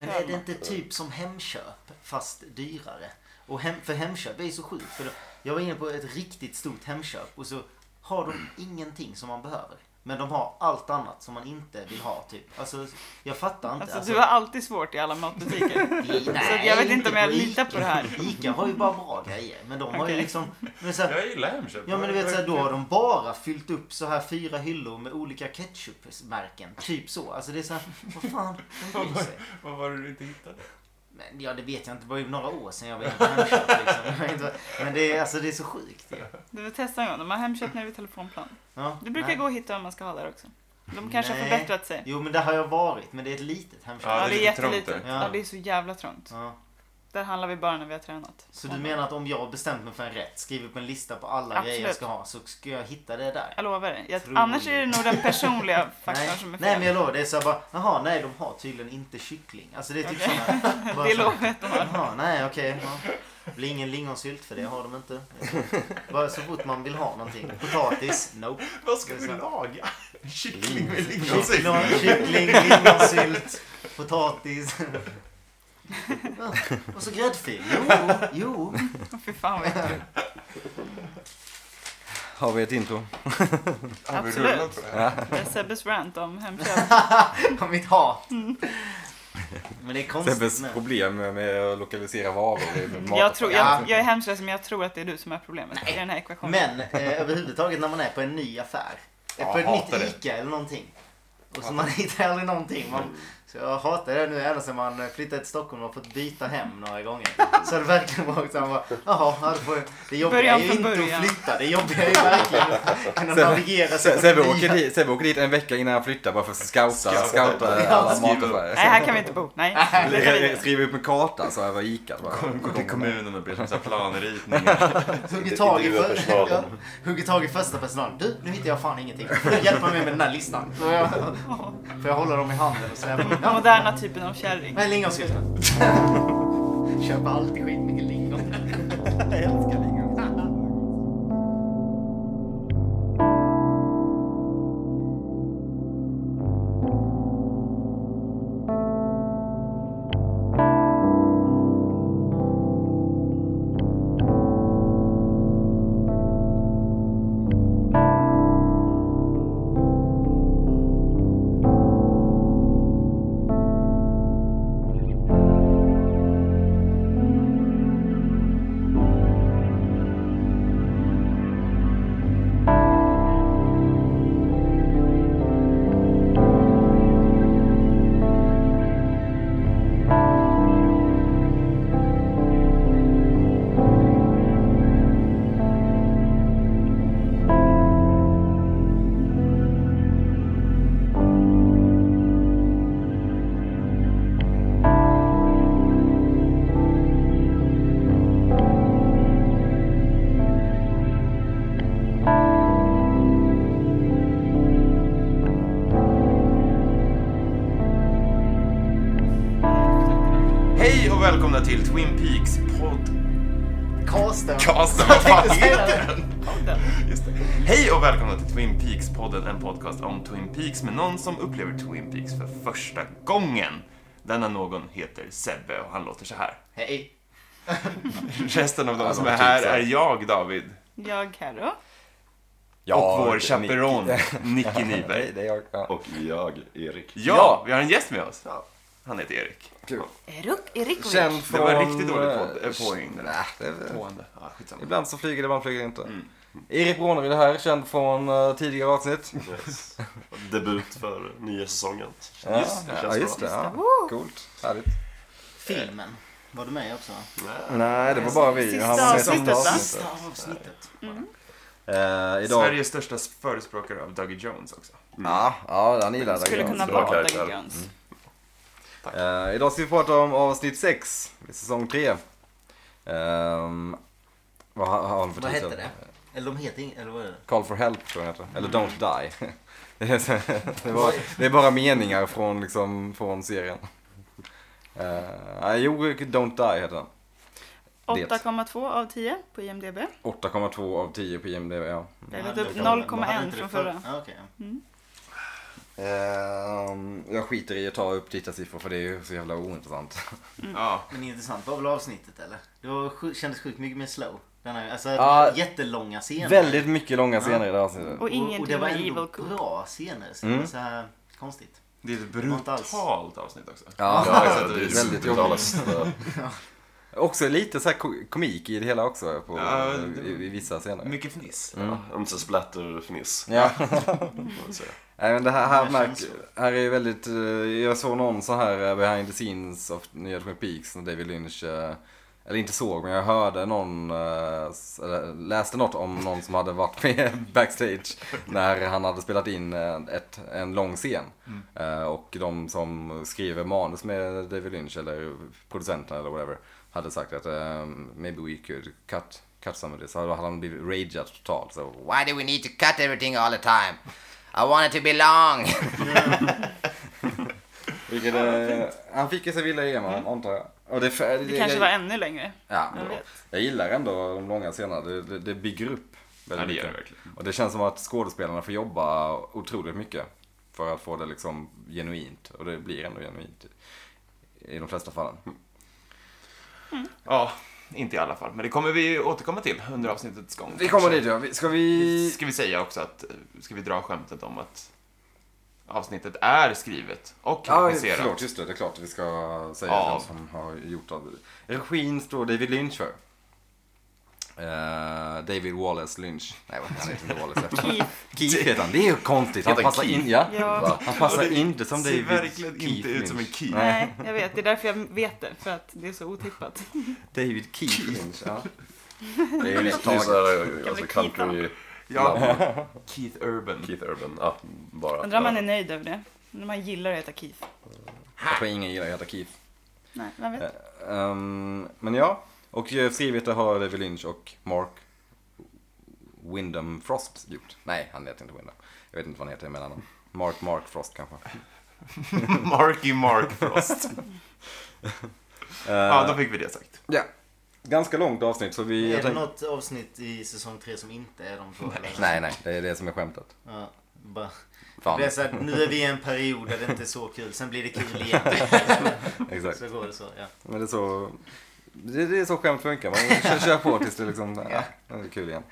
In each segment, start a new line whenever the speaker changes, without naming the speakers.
Men är det inte typ som Hemköp fast dyrare? Och hem, för Hemköp är så sjukt. För då, jag var inne på ett riktigt stort Hemköp och så har de ingenting som man behöver. Men de har allt annat som man inte vill ha typ. Alltså jag fattar inte.
Alltså, du har alltid svårt i alla matbutiker. så att jag vet inte om jag
på
litar på det här.
Ica har ju bara bra grejer. Men de har ju
Okej.
liksom... Men så här,
Jag gillar Hemköp.
ja men du vet så här, då har de bara fyllt upp så här fyra hyllor med olika ketchupmärken. Typ så. Alltså det är så här, vad fan, de bryr sig.
Vad var det du inte hittade?
Men, ja det vet jag inte, det var ju några år sedan jag var inne på Hemköp liksom. Jag vet inte vad- Men det är, alltså, det är så sjukt ju.
Du vill testa en gång. De har Hemköp nere vid telefonplan.
Ja,
Det brukar
nej.
gå att hitta om man ska ha där också. De kanske har
Nej.
förbättrat sig.
Jo men där har jag varit, men det är ett litet Hemköp.
Ja,
Ja, det
det är
är
lite trångt
jättelitet.
där. Ja.
Ja, det är så jävla trångt.
Ja.
Där handlar vi bara när vi har tränat.
Så du menar att om jag har bestämt mig för en rätt, skriver upp en lista på alla
Absolut.
grejer jag ska ha, så ska jag hitta det där?
Jag lovar dig. Jag,
Tror
annars
du?
är det nog den personliga faktorn
nej.
som är fel.
nej men jag lovar, det är så här bara, jaha nej de har tydligen inte kyckling. Alltså det är typ
Okej.
sådana. bara så
det
här,
lovar jag att de har.
Jaha, nej okej. ja. Det blir ingen lingonsylt för det har de inte. Bara så fort man vill ha någonting. Potatis, nope.
Vad ska
Det är
vi
sant.
laga? Kyckling med
Kyckling,
lingonsylt.
kyckling, lingonsylt, potatis. Ja, Och så gräddfil. Jo, jo.
Åh, Fy fan vad äckligt.
Har vi ett intro?
Har vi
Absolut.
rullat på det här?
Det är Sebbes rant om Hemköp.
Om mitt hat. Men det är konstigt
Sebbes
med.
problem med att lokalisera varor i mat.
Jag, tror,
Ja.
jag, jag är hemskt ledsen men jag tror att det är du som är problemet i den här ekvationen.
Men eh, överhuvudtaget när man är på en ny affär. Eh,
Ja,
på ett
hatar
nytt
det.
Ica eller någonting. Och så man hittar aldrig någonting. Man, så jag hatar det nu ända sedan man flyttade till Stockholm och fått byta hem några gånger. Så har det verkligen varit så här, man bara, jaha, ja, det får- det jobbiga är
Början
ju
från
inte
början.
att flytta. Det jobbiga är ju verkligen att kunna navigera sig.
Se-
på
Sebbe
nya-
åker, dit, Sebbe åker dit en vecka innan han flyttar bara för att scouta,
Scouta.
scouta
Ja,
alla
skriva.
Nej,
mataffärer.
här kan vi inte bo. Nej, det tar vi.
Skriva upp en karta så här var Ica. bara.
Gå till kommunen och be om så här planritningar.
Hugger tag, i
Intervjua
för,
personalen.
ja, hugger tag i första personalen. Du, nu hittar jag fan ingenting. Får du hjälpa mig med den här listan? Får jag, får jag hålla dem i handen och säga
Den
ja,
moderna typen av kärring.
men lingonsylten. Köper alltid skitmycket lingon.
Hej och välkomna till Twin Peaks podcast.
Karlstad.
Vad fan
tänkte säga
heter den? Just det. Hej och välkomna till Twin Peaks-podden, en podcast om Twin Peaks med någon som upplever Twin Peaks för första gången. Denna någon heter Sebbe och han låter så här.
Hej.
Resten av de
Ja,
som
de
är
typ
här
så.
är jag, David,
Jag, Carro.
Ja,
och vår
Nick-
chaperon, Nicky
Nej,
Nyberg.
det är jag. Ja.
Och jag, Erik.
Ja, vi har en gäst med oss. Han heter Erik.
Kul.
Eruk, Erikovic.
Känd från...
Det var en riktigt dålig podd, eh,
eh,
poäng. det där.
Nej, det är...
Pående. Ja, skitsamma.
Ibland så flyger det, ibland flyger det inte.
Mm.
Erik Bråneryd här, känd från eh, tidigare avsnitt.
Yes. Debut för nya säsongen.
Ja,
Just det, känns
ja, just det.
bra.
Ja. Coolt. Härligt.
Filmen. Var du med också? va?
Nej, det var bara vi. Han var med i
Sista
sista
avsnittet, va?
avsnittet.
Sista avsnittet.
Eh, idag...
Sveriges största förespråkare av Dougie Jones också.
Ja, ja, han gillar
Skulle
Dragons.
kunna
Bra
vara
karaktär.
Dagge Jöns.
Eh, idag ska vi prata om avsnitt 6 i säsong 3. vad har har han för
Vad
titel?
hette det? Eller de heter inget, eller vad är det?
Call for help tror jag den heter. Eller Don't
Mm.
die. det, är, så- det, är bara, det är bara meningar från, liksom, från serien. Eh, nej, jo, Don't die heter den.
8,2 av 10 på IMDB.
8,2 av 10 på IMDb. Ja. Mm.
Jag har
Ja,
lagt
det
upp
var- de hade
0,1
inte det
från
för-
förra.
Ja, okej.
Ehm, jag skiter i att ta upp tittarsiffror för det är ju så jävla ointressant. Mm.
Ja.
Men intressant var väl avsnittet eller? Det var, sju- kändes sjukt mycket mer slow. Den här, alltså
Ja.
jättelånga scener.
Väldigt mycket långa scener i det här avsnittet.
Och
och, och det
ingenting
var
med
ändå
Evil Cool.
bra scener. Så
Mm.
det var så här konstigt.
Det är ett
var inte alls-
brutalt avsnitt också.
Ja,
Ja,
det är
väldigt
brutala
jobbigt.
scener.
Också lite så här ko- komik i det hela också på,
Ja, det-
i, i vissa scener.
Mycket fniss.
Ja, Om inte så splatterfniss.
Ja.
får man säga.
Nej men det här, här,
Mer
märk,
känslor.
här är ju väldigt, eh, jag såg någon så här eh, behind the scenes av nya Twin Peaks när David Lynch, eh, eller inte såg men jag hörde någon, eh, s- eller läste något om någon som hade varit med backstage när han hade spelat in eh, ett, en lång scen. Eh, Och de som skriver manus med David Lynch eller producenterna eller whatever hade sagt att eh, maybe we could cut, cut some of this. Så då hade han blivit rageat totalt. Så why do we need to cut everything all the time? I want it to be long. Vilket, eh, han fick ju Sevilla i EM antar jag. Och det, det,
Det kanske var ännu längre.
Ja,
jag
jag,
vet.
gillar ändå de långa scenerna. Det, det, det bygger upp
Ja,
väldigt
det gör det
mycket.
verkligen.
Och det känns som att skådespelarna får jobba otroligt mycket för att få det liksom genuint. Och det blir ändå genuint i de flesta fallen.
Ja, inte i alla fall. Men det kommer vi återkomma till under avsnittets gång.
Vi kommer
kanske.
dit ja. Vi- Ska vi...
Ska vi säga också att, eh, ska vi dra skämtet om att avsnittet är skrivet och
Ja,
regisserat
förlåt. Just det, det är klart vi ska säga
Ja.
vem som har gjort av det. Regin står David Lynch för. Eh, David Wallace Lynch. Nej, vad- han heter inte Wallace.
Keith.
Keith heter han. Det är ju konstigt. Han
Heter han
passar
Keith?
in, ja.
Ja.
Han passar
Ja, det
inte som
ser
David
verkligen
Keith
inte ut som en
Lynch.
Keith.
Nej,
Nej, jag vet. Det är därför jag vet det. För att det är så otippat.
David Keith Lynch, ja. Det är ju
Det
lätt
är
taget.
såhär, alltså
Keith,
country,
Ja, Keith Urban.
Keith Urban, ja, bara.
Undrar om man
ja.
är nöjd över det. Undrar om man gillar att heta Keith.
Jag tror ingen gillar att heta Keith.
Nej, man
Eh.
vet.
Ehm, men ja, och eh, skrivit det har David Lynch och Mark Wyndham Frost gjort. Nej, han heter inte Wyndham. Jag vet inte vad han heter emellan dem. Mark Mark Frost kanske.
Marky Mark Frost. ja, då fick vi det sagt.
Ja, ganska långt avsnitt så vi...
Är
jag
det
tänk-
något avsnitt i säsong 3 som inte är de två? eller?
Nej, nej, det är det som är skämtet.
Ja, bara. Det
Fan,
är så här, nu är vi i en period där det inte är så kul, sen blir det kul igen.
exakt.
Så går det så, ja.
Men det är så... Det, det är så skämt funkar. Man kör, kör på tills det liksom... Ja, det är kul igen.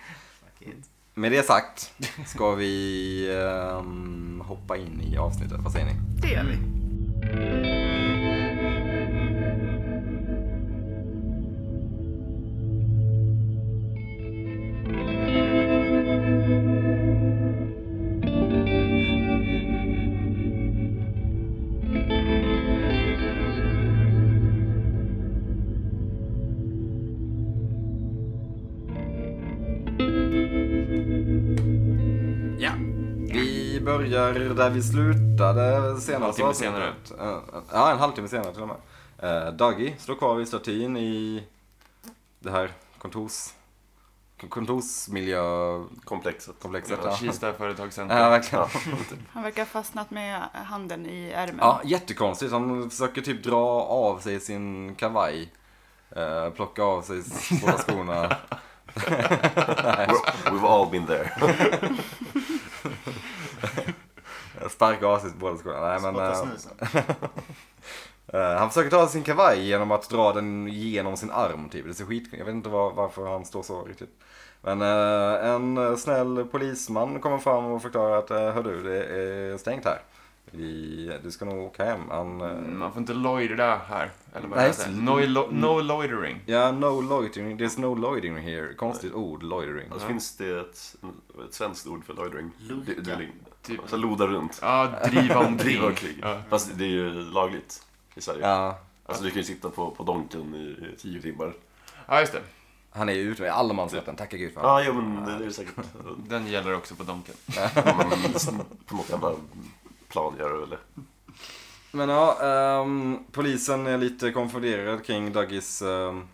Fuck
Mm.
it.
Med det sagt ska vi ehm, hoppa in i avsnittet. Vad säger ni?
Det gör vi.
Ja. Vi börjar där vi slutade senast. En
halvtimme senare.
Ja, en halvtimme senare till och med. Eh, Daggy står kvar vid statyn i det här kontors... k- kontorsmiljökomplexet.
Komplexet.
Ja,
Kista
ja,
företagscenter.
verkligen.
Han verkar ha fastnat med handen i ärmen.
Ja, jättekonstigt. Han försöker typ dra av sig sin kavaj. eh, Plocka av sig s- båda skorna.
We're- We've all been there.
Sparka av sig båda skorna. Nej, men,
Spotta
eh,
snusen.
Eh, han försöker ta sin kavaj genom att dra den genom sin arm typ. Det ser skit Jag vet inte var, varför han står så riktigt. Men eh, en eh, snäll polisman kommer fram och förklarar att eh, hör du, det är stängt här. Vi, du ska nog åka hem. Han, eh,
Mm, Man får inte loitera här. Eller vad
Nej,
det Mm. heter. No, lo- no loitering.
Ja, no loitering. There's no loitering here. Konstigt ord, loitering.
Alltså, finns det ett, ett svenskt ord för loitering?
Loka.
Det- det-
Typ-
Alltså loda runt.
Ja, driva omkring.
Driva omkring.
Ja.
Fast det är ju lagligt i Sverige.
Ja,
Alltså du kan ju sitta på, på donken i i tio timmar.
ja, just det.
han är ju ute med allemansrätten. Tacka gud för
Ja,
han.
ah, jo men det är det säkert.
Den gäller också på Donken.
på något jävla plan gör det väl det.
Men ja, ehm, polisen är lite konfunderad kring Duggies ehm,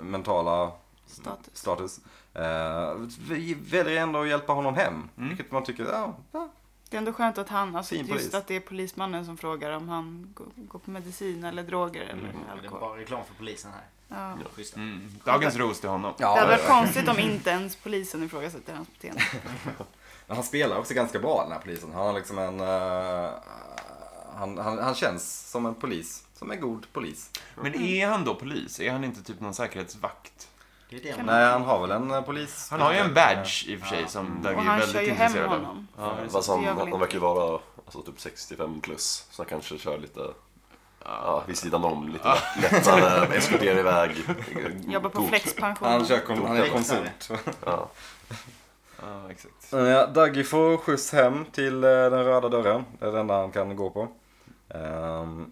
mentala
Status.
Mm.
status. Eh, vi väljer ändå att hjälpa honom hem. Vilket man tycker, ja, ja,
Det är ändå skönt att han, alltså
Fin
just
polis.
att det är polismannen som frågar om han går, går på medicin eller droger eller
Det är
alkohol.
bara reklam för polisen här.
Ja.
Schysst.
Mm. Dagens ros till honom.
Det hade varit
Ja,
konstigt om inte ens polisen ifrågasätter hans beteende.
men han spelar också ganska bra den här polisen. Han har liksom en... eh, han, han, han känns som en polis. Som en god polis.
Mm.
Men är han då polis? Är han inte typ någon säkerhetsvakt?
Det är det
Kan
man...
Nej, han har väl en eh, polis...
Han har ju en badge i och för sig som Dagge
Och
är
han kör
väldigt
ju hem
intresserad av.
honom.
Mm. Ja, precis.
Fast han,
Det gör väl
han
inte
verkar ju vara alltså, typ 65 plus. Så han kanske kör lite ja, vid sidan om. Lite lättare, eskorterar iväg.
Jobbar på
god-
flexpension.
Han, kör kon- han är
Doktor.
konsult.
Ja.
Ja, exakt.
Ja, Daggy får skjuts hem till eh, den röda dörren. Det är det enda han kan gå på. Ehm,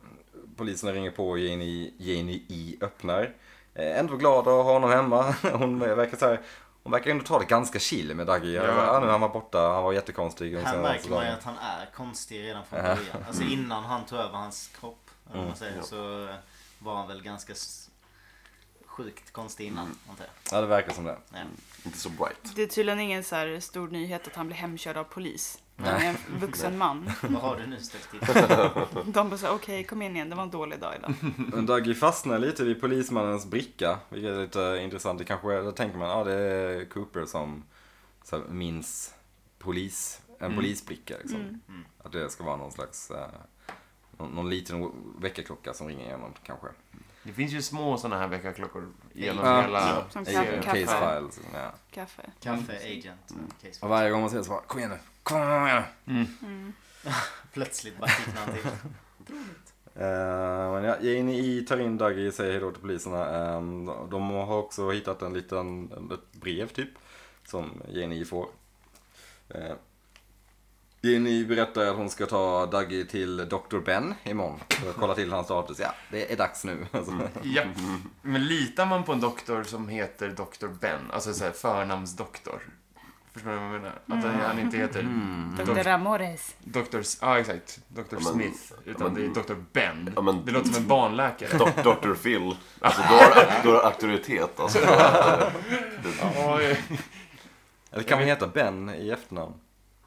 polisen ringer på och Janie, Janie E öppnar. Eh, ändå glad att ha honom hemma. Hon verkar så här, hon verkar ändå ta det ganska chill med Daggy. Ja.
Ja.
nu han var borta, han var jättekonstig. de
Här
senaste
märker man ju
dagarna.
att han är konstig redan från början. Alltså
Mm.
innan han tog över hans kropp. Eller vad man säger, så eh, var han väl ganska s- sjukt konstig innan.
Mm.
Antar jag.
Ja, det verkar som det.
Nej.
Inte så bright.
Det är tydligen ingen så här stor nyhet att han blir hemkörd av polis. Han är en vuxen man.
Vad har du nu ställt till?
De bara såhär, okej kom in igen, det var en dålig dag idag.
Men Daggy fastnar lite vid polismannens bricka, vilket är lite intressant. Det kanske, då tänker man, ja ah, det är Cooper som så här, minns polis, en polisbricka liksom. Att det ska vara någon slags, eh, någon, någon liten väckarklocka som ringer igenom kanske.
Det finns ju små sådana här väckarklockor genom
Ja.
hela...
Som
I
kaffe.
case files. Ja.
Kaffe.
Kaffe, agent,
Mm.
case.
Och varje gång man ser det så bara, kom igen nu, kom igen nu.
Plötsligt bara fick han till.
Eh, men ja, Janie E tar in Dougie och säger hejdå till poliserna. Ehm, de har också hittat en liten, ett brev typ, som Janie E får. Uh, Janie berättar att hon ska ta Dougie till Dr. Ben imorgon för att kolla till hans status. Ja, det är dags nu. Alltså.
Ja. Men litar man på en doktor som heter Dr. Ben? Alltså så här, förnamnsdoktor. Förstår du vad jag menar? Att
Mm.
han- han inte heter
Mm.
Dr. Amores.
Dr. S- Ja, exakt. Dr.
men-
Smith. Utan
ja, men-
det är Dr. Ben.
Ja, men-
Det låter som en barnläkare.
Doc- Dr. Phil. Alltså, då har, då har auktoritet. Alltså,
Oj.
Eller kan man heta Ben i efternamn?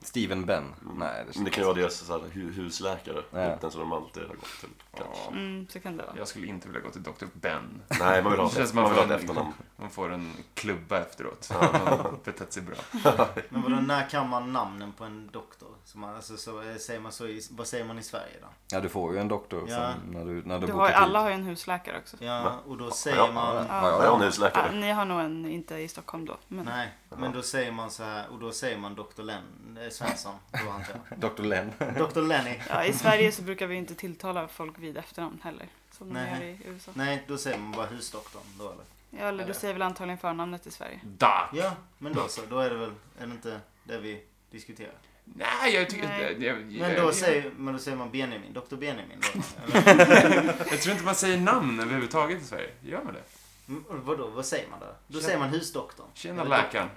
Steven Ben? Nej, det
men Mm. det
känns...
kan ju vara deras så här, hu- husläkare.
Ja.
Den som de alltid har gått till. Kanske.
Mm, så kan det vara.
Jag skulle inte vilja gå till Dr. Ben.
Nej, man vill ha
Det känns
ett,
som man
man vill ha
får
ett
en-
efternamn.
Man får en klubba efteråt. Man har betett sig bra.
Men vadå,
Mhm.
när kan man namnen på en doktor? Så man, alltså, så, eh, säger man så i, vad säger man i Sverige då?
Ja, du får ju en doktor
Ja.
sen när du, när du,
Du
bokar
har,
tid.
alla har ju en husläkare också.
Ja, och då
Ja,
säger man...
Ja, ja,
Ja,
ja.
jag har en husläkare.
Ah, ni har nog en, inte i Stockholm då. Men
Nej, men då säger man så här och då säger man Dr. Len, eh, Svensson. Då antar
Dr. Len.
jag. Dr. Lenny.
ja, i Sverige så brukar vi inte tilltala folk vid efternamn heller. Som de
Nej.
gör i USA.
Nej, då säger man bara husdoktorn då eller?
Ja, eller du säger väl antagligen förnamnet i Sverige.
Doc.
Ja, men då så. Då är det väl, är det inte det vi diskuterar?
Nej, jag tycker
Nej.
inte... Jag, jag,
Men då
jag,
säger, men då säger man Benjamin, Dr. Benjamin då? Eller,
jag tror inte man säger namn överhuvudtaget i Sverige. Gör man det?
Mm, vadå, vad säger man då? Då
Tjena.
säger man husdoktorn.
Tjena
Eller
läkaren.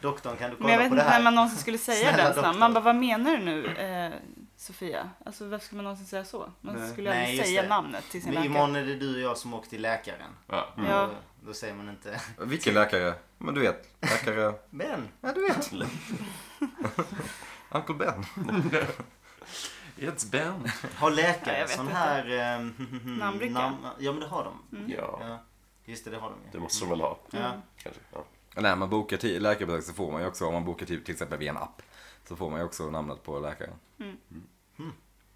Doktorn, kan du
Men jag
kolla
vet
på det
inte när
här?
man någonsin skulle säga
Snälla
det ens namn.
doktor.
Man bara, vad menar du nu eh, Sofia? Alltså varför skulle man någonsin säga så? Man
Nej.
skulle
Nej,
aldrig
just
säga
det.
namnet till sin
Men
läkare.
imorgon är det du och jag som åker till läkaren.
Ja.
Ja.
Mm. Då, då säger man inte
Vilken läkare? Men du vet, läkare...
Ben.
Ja, du vet. Uncle Ben.
It's Ben.
Har
Ja,
läkare
jag vet
sån
inte.
här... Eh,
Namnbricka. Mm.
ja men det har de.
Ja,
Ja, just det, det har de
det
ju.
måste de väl ha.
Ja.
Kanske. Ja.
När man bokar ti- läkarbesök så får man ju också, om man bokar typ till exempel via en app, så får man ju också namnet på läkaren. Mm.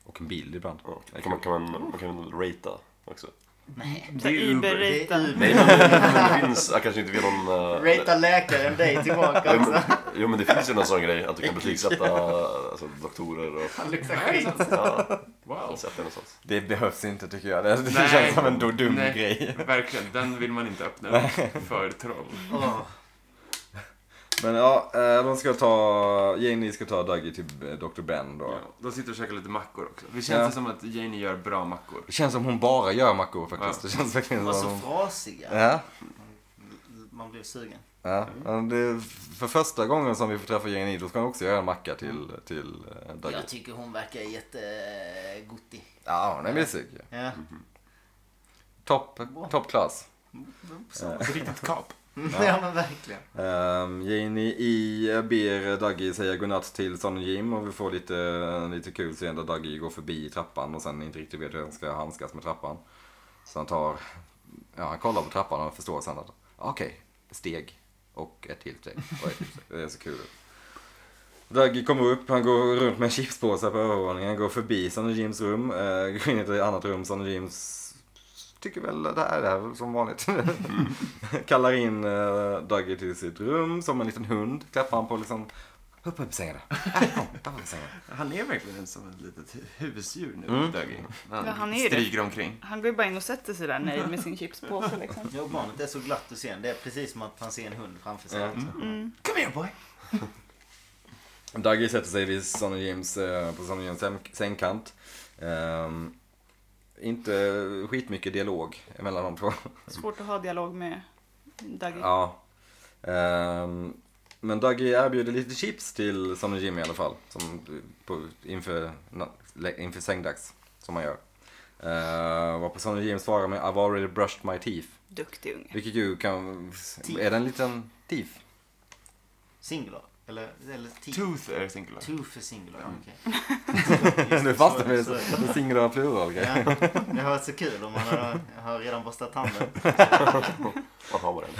Och en bild ibland.
Ja.
Det är
Kan, man,
kul.
kan, man, man kan väl ratea också?
Så
Det är Uber.
Det
Uber-rita.
är Uber.
Nej, men det finns, jag kanske inte vill någon... eh,
Rata läkaren dig tillbaka
Jo
också.
men, jo men det finns ju någon sån grej att du kan betygsätta alltså, doktorer och...
Han luktar skit.
Ja,
Wow.
jag sett det någonstans.
Det behövs inte tycker jag. Det, det
Nej.
känns som en do- dum
Nej.
grej.
Verkligen, den vill man inte öppna upp för troll.
Åh,
Men ja, eh, de ska ta, Janie ska ta Dougie till eh, Dr. Ben då.
Ja, de sitter och käkar lite mackor också. Det känns
Ja.
det som att Janie gör bra mackor.
Det känns som hon bara gör mackor faktiskt. Det känns verkligen
de var
som...
så
hon-
frasiga.
Ja,
Man blev sugen.
ja. Men det, för första gången som vi får träffa Janie då ska hon också göra en macka till, till eh, Dougie.
Jag tycker hon verkar jättegottig.
Ja, hon är mysig.
Ja.
Topp, topp class.
Ett riktigt kap.
Ja. ja men verkligen.
Um, Janie I eh, ber Dougie säga godnatt till Sonny Jim och vi får lite, en lite kul scen där Dougie går förbi trappan och sen inte riktigt vet hur han ska handskas med trappan. Så han tar, ja han kollar på trappan och förstår sen att "Ah, okej, steg och ett till steg. Och ett till steg. Det är så kul ut. Dougie kommer upp, han går runt med en chipspåse på övervåningen, går förbi Sonny Jims rum, eh, går in i ett annat rum, Sonny Jims tycker väl det här är väl som vanligt. Kallar in uh, Dougie till sitt rum som en liten hund, klappar han på liksom, hoppa upp i sängen där. Här, kom, hoppa upp i sängen.
Han är verkligen som ett litet husdjur nu,
Mm.
Dougie. Han,
Ja, han är det.
stryker omkring.
Han går ju bara in och sätter sig där nöjd med sin chipspåse liksom.
Ja, och barnet är så glatt att se en. Det är precis som att man ser en hund framför sig. Liksom. också.
Mm.
Come here boy!
Dougie sätter sig vid Sonny James, eh, på Sonny James säng- sängkant. Ehm, inte skitmycket dialog mellan de två.
Svårt att ha dialog med Dougie.
Ja. Ehm, men Dougie erbjuder lite chips till Sonny Jim i alla fall. Som eh, på, inför, na, lä- inför sängdags. Som man gör. Uh, varpå Sonny Jim svarar med I've already brushed my teeth.
Duktig unge.
Vilket ju kan... Är det en liten teeth?
Singular. Eller, eller t-
Tooth är singular.
Two för singular. Mm.
Nu fastnar vi i
så-
en singular plural grej.
Ja, det har varit så kul om man har, har redan borstat tanden.
Man har den.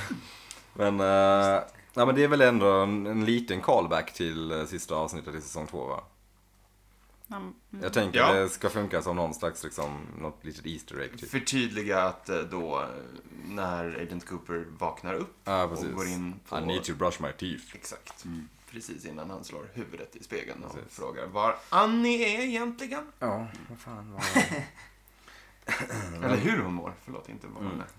Men, eh, ja, men det är väl ändå en, en liten callback till eh, sista avsnittet i säsong två va?
Han,
Jag tänker
Ja.
det ska funka som någon slags liksom, något litet Easter egg typ.
Förtydliga att eh, då eh, när Agent Cooper vaknar upp
Ja,
och går
precis.
in på...
I need to brush my teeth.
Exakt. Precis innan han slår huvudet i spegeln och
Mm. Precis.
frågar var Annie är egentligen.
Ja, vad fan var Mm.
Eller hur hon mår. Förlåt, inte var hon är.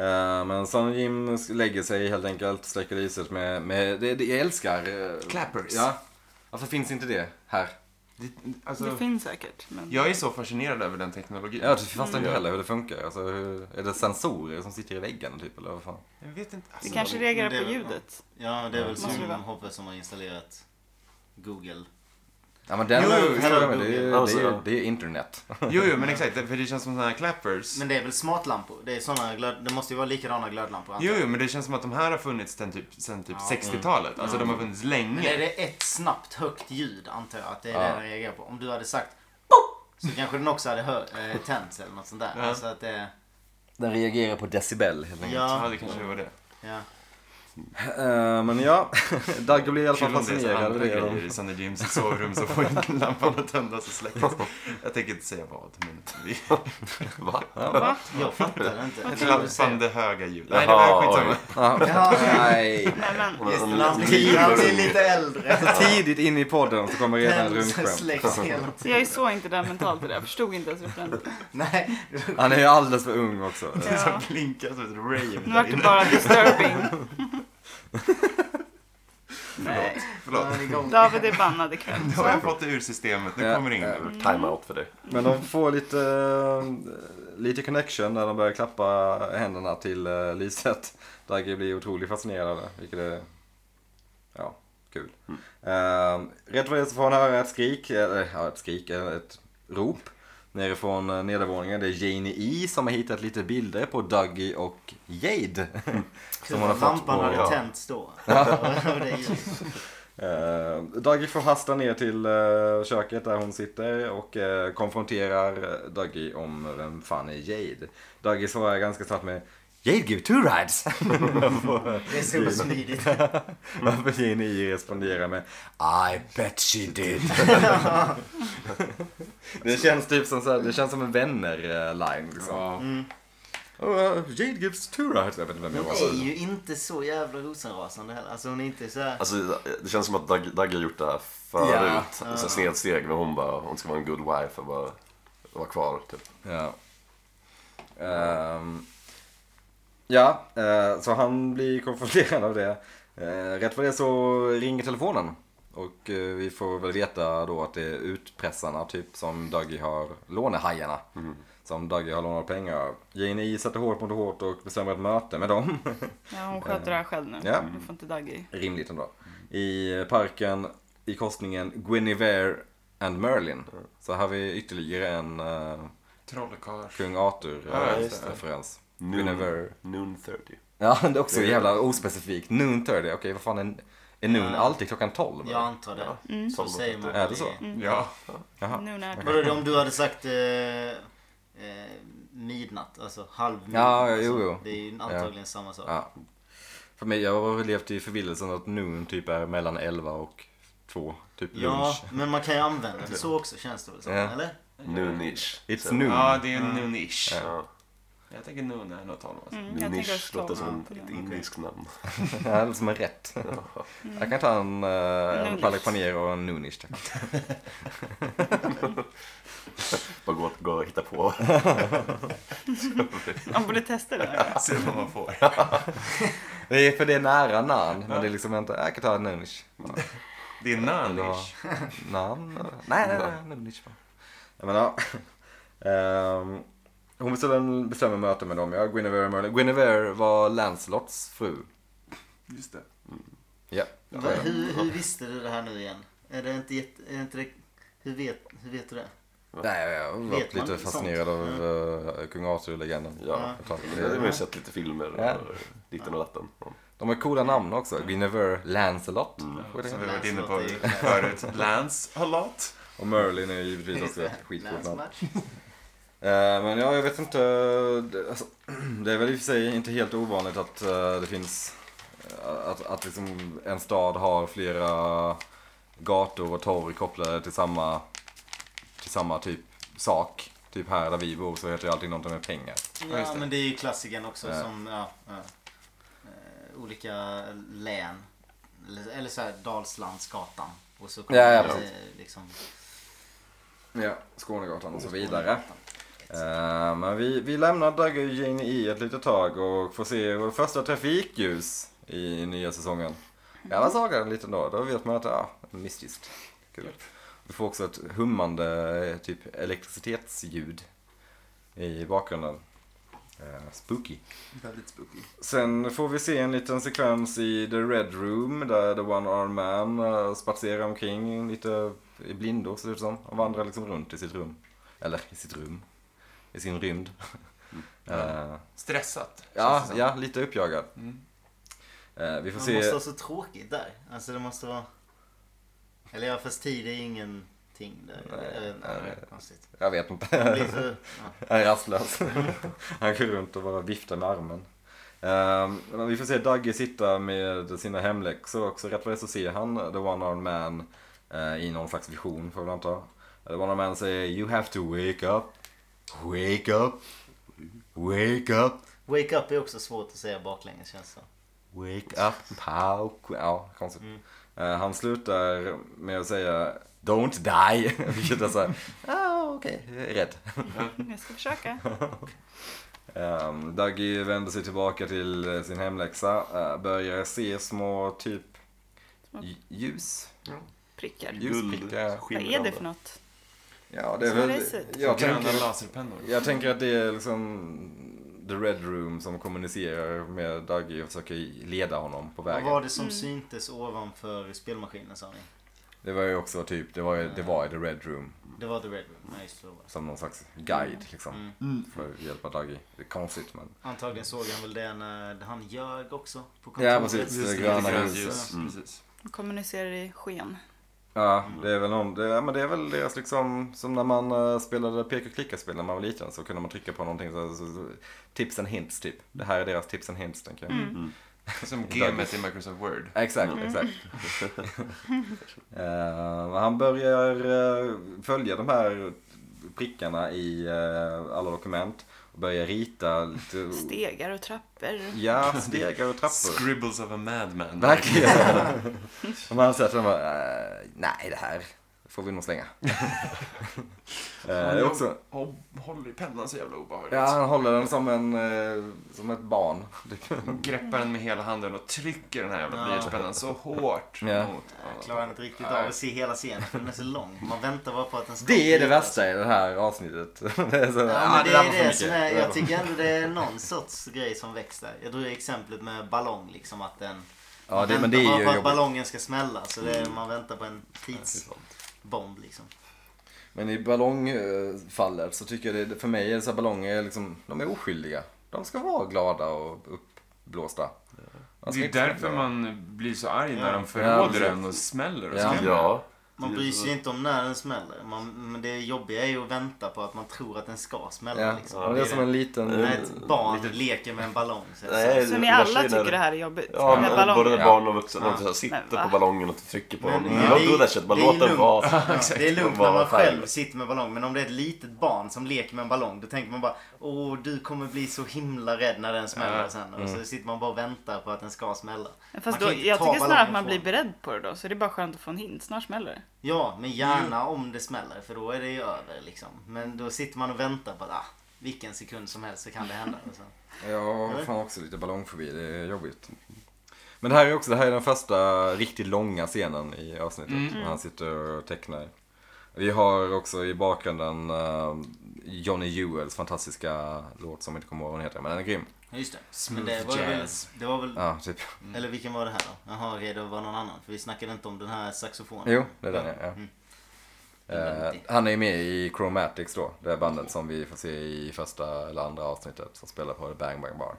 Eh, men Sonny och Jim sk- lägger sig helt enkelt, sträcker i sig med, med det, det jag älskar. eh,
Clappers.
Ja. Varför finns inte det här?
Det,
det
alltså,
finns säkert, men
jag är så fascinerad över den teknologin.
Jag fattar inte heller hur det funkar. Alltså, hur, är det sensorer som sitter i väggen typ eller vad fan?
Jag vet inte.
det
Alltså,
kanske
det-
reagerar
det är
på
väl-
ljudet.
Ja, det är väl
Måste det
som
vara?
Hoppe som har installerat Google.
Ja men den
Jo, jo,
förstår
hello,
jag med. det, är, ju-
Alltså,
det, är, ju-
ja.
det är internet.
Jo, jo, men exakt. För det känns som sådana här clappers.
Men det är väl smartlampor? Det, är såna glöd... det måste ju vara likadana glödlampor. antar
Jo,
jag.
jo, men det känns som att de här har funnits sen typ, sen typ
Ja.
60-talet. Alltså, de har funnits
Men är
länge.
det ett snabbt högt ljud antar jag att det är
Ja.
det den reagerar på. Om du hade sagt "Pop", så kanske den också hade hör... eh, tänts eller något sånt där.
Ja.
Alltså att det...
Den reagerar på decibel helt
Ja,
Ja.
det kanske var det.
ja.
Eh, men ja, Dagge blir i alla fall
Kul om det är så
fascinerad över
andra
det.
grejer
De,
i Sandy James sovrum så får inte lampan att tändas och släckas. Jag tänker inte säga vad, men vi...
Va?
Va?
Jag fattar inte. Jag tror du säger-
Klappande höga ljud. Nej, det var
Jaha,
skitsamma.
Ja,
nej.
Nej, men,
just det, han blir- han blir lite äldre.
Tidigt in i podden så kommer redan
Den
runkskämt.
släcks hela tiden.
så jag är så inte där mentalt i det. Jag förstod inte ens referensen.
Nej,
Han är ju alldeles för ung också.
Ja.
Så blinkar som ett rave
Nu
där
vart det
inne.
bara disturbing. Nej,
då
Förlåt.
är han igång.
David är bannad ikväll.
Nu har jag fått det ur systemet. Nu
Ja. eh,
kommer det in.
Time-out för dig.
Men de får lite, eh, lite connection när de börjar klappa händerna till eh, lyset. Dagge blir otroligt fascinerad, vilket är ja, kul. Mm. rätt vad det är så får han höra ett skrik, eller ja, ett skrik, eh, ett rop nerifrån eh, nedervåningen. Det är Janie E som har hittat lite bilder på Dougie och Jade. som hon Mm. har fått
Lampan
på-
hade
ja.
tänts då. Och det är ju-
Eh, Dougie får hasta ner till eh, köket där hon sitter och eh, konfronterar eh, Dougie om vem fan är Jade. Dougie svarar ganska snabbt med Jade give two rides.
Det är så smidigt.
Varför Jenny responderar med I bet she did. det känns typ som så här, det känns som en vänner-line liksom. Oh, eh, Jade gives two rides. Jag vet inte vem jag
Hon
var.
är ju inte så jävla rosenrasande heller. Alltså hon är inte så här...
Alltså, det känns som att Doug, Doug har gjort det här förut.
Ja.
Så här snedsteg, men hon bara, hon ska vara en good wife och bara vara kvar. Typ.
Ja. Ehm, ja, eh, så han blir konfronterad av det. Eh, rätt vad det är så ringer telefonen. Och eh, vi får väl veta då att det är utpressarna typ som Dougie har, lånehajarna.
Mm.
Som Dougie har lånat pengar av. Janie sätter hårt mot hårt och bestämmer ett möte med dem.
Ja, hon sköter det här själv nu.
Ja.
Nu får inte Dagge.
Rimligt ändå.
Mm.
I parken i korsningen Guinevere and Merlin.
Mm.
Så här har vi ytterligare en eh,
Trollkarl.
Kung Arthur-referens.
Ja,
Eh,
just det.
referens.
Noon,
Guinevere
noon 30.
Ja, det är också jävla ospecifikt. Noon 30, okej vad fan är, är noon
Ja.
alltid klockan 12?
Jag antar det. Så
Som
säger
något
man.
annat.
Är det så?
Ja.
Jaha.
Nu när
Vadå, det om du hade sagt eh, eh, midnatt, alltså halv midnatt.
Ja, ja,
alltså,
jo, jo.
Det är ju antagligen samma sak.
Ja. För mig, jag har levt i förvillelsen att noon typ är mellan 11 och 2, typ
Ja,
lunch.
men man kan ju använda det så också känns det väl som,
Ja.
eller?
Noonish.
It's
Så-
noon.
ja, det är noonish.
Ja.
Jag tänker noon är nog 12. Alltså.
Mm, jag tänker
Noonish
också
låter som
tolv.
ett indiskt namn.
Ja, eller som en rätt. Jag kan ta en uh,
Noonish.
palak paneer och en noonish tack.
Bara gå, gå och hitta på.
Man borde testa det
Mm.
där.
Se vad man får.
Det är för det är nära nan, men det är liksom inte, jag kan ta en noonish.
Det är noonish.
Nan? Nej, nej, nej, noonish. bara. Jag menar, um, hon bestämmer, bestämmer möte med dem, ja, Guinevere Merlin. Guinevere var Lancelots fru.
Just det.
Ja.
Va, hur, hur visste du det här nu igen? Är det inte, jätte, är det inte det, hur, vet, hur vet du det?
Nej, jag har varit
Vet man
lite
sånt?
fascinerad av eh, kung Arthur-legenden.
Ja.
Ett tag.
Det har man ju sett lite filmer
Ja.
och ditten och datten. Ja.
De har coola namn också. Guinevere Lancelot.
Mm.
Som vi har varit inne på
Lancelot är-
förut. Lance har lot.
Och Merlin är givetvis också ett skitcoolt namn.
Länsmatch.
Eh, Men ja, jag vet inte. Det, alltså, det är väl i och för sig inte helt ovanligt att eh, det finns att, att liksom en stad har flera gator och torg kopplade till samma, till samma typ sak. Typ här där vi bor så heter det alltid någonting med pengar.
Ja, just
Ja,
det.
men det är ju klassikern också
Ja.
som, ja, ja. Eh, Olika län. Eller, eller så här Dalslandsgatan. Och så kommer
Ja, ja,
det,
precis.
eh, liksom
Ja, Skånegatan och så vidare. Eh, men vi, vi lämnar Dagge i ett litet tag och får se vår första trafikljus i nya säsongen. Jag var sågad den lite då, då vet man att ja, mystiskt. Kul. Vi får också ett hummande eh, typ elektricitetsljud i bakgrunden. Eh, spooky.
väldigt spooky.
Sen får vi se en liten sekvens i The Red Room där The One Arm Man eh, spatserar omkring lite i blindo ser det ut som. Och vandrar liksom runt i sitt rum. Eller i sitt rum. I sin rymd. Eh,
Stressat.
ja,
känns det som.
ja, lite uppjagad. Eh, vi får
Mm. Man måste
se.
ha så tråkigt där. Alltså det måste vara... Eller ja, fast tid är ju ingenting där.
Nej,
Nej, nej,
nej.
det är konstigt.
Jag vet
Det
inte.
blir så... Ja.
Han är rastlös. Han går runt och bara viftar med armen. Ehm, men vi får se Dagge sitta med sina hemläxor också. Rätt vad det är så ser han The One-Armed Man eh, i någon slags vision får vi anta. The One-Armed Man säger You have to wake up. Wake up. Wake up.
Wake up är också svårt att säga baklänges känns det som.
Wake up. Pow. Ja, konstigt. Eh, han slutar med att säga Don't die. Vilket är såhär, ah, okej, jag är rädd.
Mm, Jag ska försöka.
Um, Daggy vänder sig tillbaka till eh, sin hemläxa. eh, börjar se små typ lj- ljus.
Prickar.
Ljusprickar.
Vad är det för något?
Ja, det är
Så
väl...
det ser ut.
Jag
Gröna
tänker,
laserpennor.
jag tänker att det är liksom The Red Room som kommunicerar med Daggy och försöker leda honom på
Vad
vägen.
var det som syntes ovanför spelmaskinen sa ni?
Det var ju också typ, det var, ju, det var i The Red Room
Det var The Red Room. Nej, just det. det var det.
som någon slags guide liksom.
Mm.
För att hjälpa Daggy. Det är konstigt men.
Antagligen såg han väl det när han ljög också. På
Ja,
kontoret.
precis.
Just
Det
det,
gröna
grönt
ljuset.
ljus.
Mm.
Precis.
De kommunicerar i sken.
Ja, det är väl någon, det, ja, men det är väl deras liksom, som när man eh, spelade peka och klicka-spel när man var liten så kunde man trycka på någonting så, så, så tips and hints typ. Det här är deras tips and hints tänker jag.
Som gamet i Microsoft Word.
Exakt, exakt. Eh, men han börjar eh, följa de här prickarna i eh, alla dokument och börjar rita lite...
Stegar och trappor.
Mm. Ja, stegar och trappor.
Scribbles of a madman.
Verkligen. Om man sätter den bara, eh, nej det här får vi nog slänga. Eh, det
Han
är också,
hå- håller i pennan så jävla obehagligt.
ja, han håller den som, en, eh, som ett barn. typ.
Han Greppar den med hela handen och trycker den här jävla
Ja.
blyertspennan så hårt
Ja.
mot
Jag klarar inte riktigt av att se hela scenen för den är så lång. Man väntar bara på att den ska
Det är det värsta i det här avsnittet. Det är så,
Ja,
ah,
men det
där var
är
för
det som är,
mycket.
jag tycker ändå det är någon sorts grej som väcks där. Jag drog exemplet med ballong liksom att den...
Ja,
man
det- men
väntar
det är ju
bara på att
jobbigt. Mm.
ballongen ska smälla så det är, man väntar på en tidsbomb liksom.
Men i ballongfallet så tycker jag det, för mig är det så här, ballonger är liksom, de är oskyldiga. De ska vara glada och upp, blåsta. Man ska
Det är
inte
därför
förlora.
man blir så arg när
Ja.
de förråder
Ja,
en och smäller och
Ja.
skrämmer.
Ja.
Man bryr sig ju inte om när den smäller. Man, men det jobbiga är ju att vänta på att man tror att den ska smälla.
Ja,
Liksom.
men det är som en liten...
när ett barn leker med en ballong. Så att
Nej,
säga.
Så ni
jag
alla
känner-
tycker det här är jobbigt?
Ja,
Med
men
ballonger?
både barn och vuxna.
Ja.
De så här
Men va?
sitter på ballongen och trycker på
Men
den.
det-
Love do that shit, bara
det är
låt den
lugnt.
vara.
Ja, det är lugnt
Bara
när man
vara
själv sitter med ballong. Men om det är ett litet barn som leker med en ballong. Då tänker man bara Åh, du kommer bli så himla rädd när den smäller
Ja.
sen.
Mm.
Och så sitter man bara och väntar på att den ska smälla. Man
Fast
kan
då,
ju inte
jag
ta
tycker snarare att
ballongen
man blir
från-
beredd på det då. Så det är bara skönt att få en hint. Snart smäller det.
Ja, men gärna om det smäller. För då är det ju över liksom. Men då sitter man och väntar på att ah, vilken sekund som helst så kan det hända. Och så.
Jag har fan också lite ballongfobi, det är jobbigt. Men det här är också, det här är den första riktigt långa scenen i avsnittet. När han sitter och tecknar. Vi har också i bakgrunden eh, Johnny Jewels fantastiska låt som jag inte kommer ihåg vad den heter, men den är grym.
Ja, Just det.
Smooth
men det var väl,
jazz.
det var väl
Ja, typ.
Eller vilken var det här då? Jaha, okej, det var någon annan. För vi snackade inte om den här saxofonen. Mm.
Jo, det är den ja. ja. Eh, han är ju med i Chromatics då, det är bandet som vi får se i första eller andra avsnittet som spelar på The Bang Bang Bar.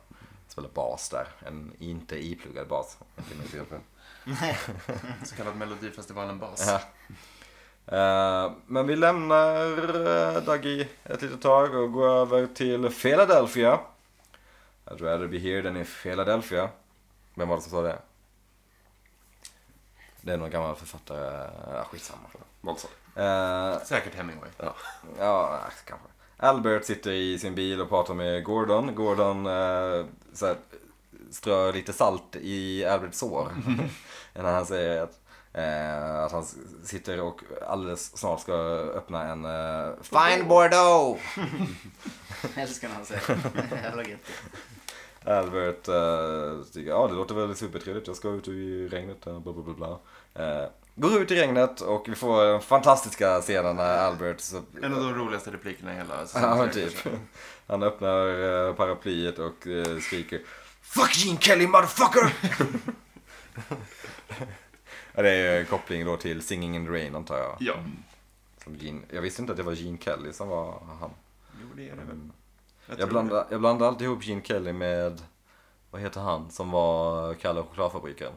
Spelar bas där, en inte ipluggad bas. Inte min fel på det.
Så kallad Melodifestivalen-bas.
Ja. Eh, men vi lämnar uh, Dagi ett litet tag och går över till Philadelphia. I'd rather be here than in Philadelphia. Vem var det som sa det? Det är någon gammal författare. Uh, skitsamma.
Någon sa
Eh,
Säkert Hemingway.
ja, kanske. Albert sitter i sin bil och pratar med Gordon. Gordon eh, så här, strör lite salt i Alberts sår. när han säger att, eh, att han sitter och alldeles snart ska öppna en eh, Fine Bordeaux!
Jag älskar när han säger det. Jävla gött.
Albert eh, tycker, ja det låter väl supertrevligt, jag ska ut i regnet, eh, bla bla bla bla. Eh, går ut i regnet och vi får den fantastiska scenen när Albert så,
En av de roligaste replikerna i hela
Ja,
säsongen.
men typ. Han öppnar eh, paraplyet och eh, skriker Fuck Gene Kelly motherfucker! ja, det är ju en koppling då till Singing in the Rain antar jag.
Ja.
Som Gene, jag visste inte att det var Gene Kelly som var han.
Jo, det är det väl. tror
Jag blandar, jag blandar alltid ihop Gene Kelly med, vad heter han som var Kalle och chokladfabriken?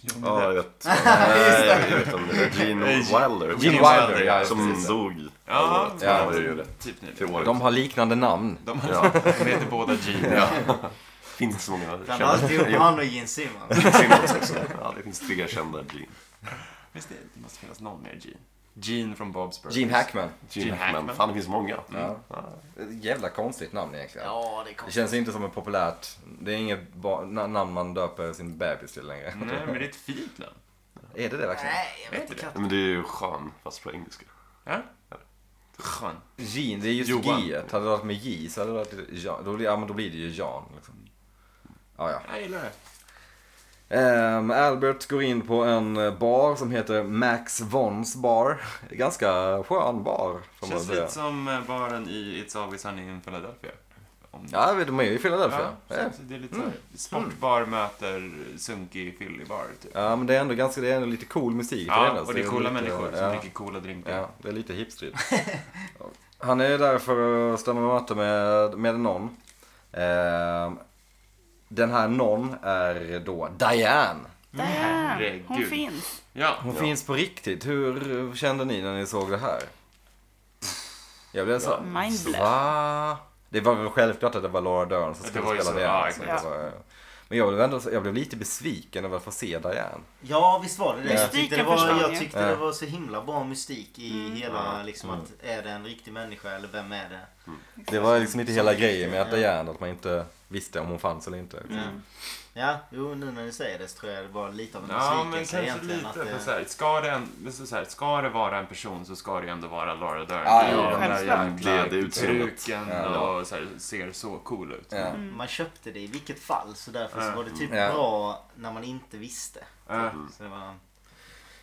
Johnny
Ja,
Depp.
jag tror- Nej, jag vet inte. Det är Gene
Nej,
Wilder.
Gene Wilder, ja,
Som
precis.
dog.
Ja,
Ja,
ja,
det är ju rätt.
Typ nu.
Till året.
De har liknande namn.
De,
Ja.
de heter båda Gene.
Ja. Finns inte så många
Bland
kända
alltihop han och Gene Simmons.
Simmons också. Ja, det finns tre kända Gene.
Visst det, det måste finnas någon mer Gene. Gene från Bob's Burgers.
Gene Hackman.
Gene
Gene
Hackman.
Hackman.
Fan, det finns många.
Ja. Jävla konstigt namn egentligen.
Ja, det är
Det
konstigt.
känns inte som ett populärt, det är inget ba- na- namn man döper sin bebis till längre.
Nej, men det är ett fint namn.
Är det det verkligen?
Nej, jag vet inte
Ja, Men det är ju skön, fast på engelska.
Ja? Skön.
Jean, det är just
Johan.
G. Hade det varit med J så hade det varit lite Jean. Då blir, ja, men då blir det ju Jan. Liksom. Ja, ja.
Jag gillar det.
Ehm, Albert går in på en eh, bar som heter Max Vons bar. Ganska skön bar. Får man
Känns
säga.
lite som eh, baren i It's Always Sunny in Philadelphia. Om-
Ja, jag vet, de är ju i Philadelphia.
Ja,
Ja,
så det är lite så här, sportbar möter sunkig fyllibar typ.
ja, men det är ändå ganska, det är ändå lite cool musik. till
Ja,
ändå, så
och det är coola
lite-
människor som
ja.
dricker coola drinkar.
Ja, det är lite hipstrigt. Han är där för att stämma matte med, med någon. Ehm, den här någon är då Diane.
Där ja, hon
herregud.
finns.
Ja.
Hon finns på riktigt. Hur kände ni när ni såg det här? Jag blev så...
Mindblown.
Va? Det var väl självklart att det var Laura Dern som
Det
skulle
var ju
spela
så,
Diane.
ja,
så
exakt.
det var- Men jag blev, ändå, jag blev lite besviken över att få se Diane.
Ja, visst var det det. Jag tyckte det
Mystiken
var,
försvann
jag
ju.
tyckte
Ja.
det var så himla bra mystik i
Mm.
hela, liksom
Mm.
att är det en riktig människa eller vem är det?
Det var liksom inte hela grejen med att Diane, att man inte visste om hon fanns eller inte.
Ja, jo nu när ni säger det så tror jag det var lite av en
Ja, men
besvikelse
kanske
egentligen.
lite.
att eh,
För
det-
så här, ska, det en, men så så här, ska det vara en person så ska det ju ändå vara Laura Dern.
Ja,
I
ja,
den där
självklart.
Det-
jävla
det är utseendet.
peruken och så här, ser så cool ut. Eh,
Ja.
Mm. Man köpte det i vilket fall så därför så
Ja.
var det typ
Mm. Ja.
bra när man inte visste.
Ja.
Så det var...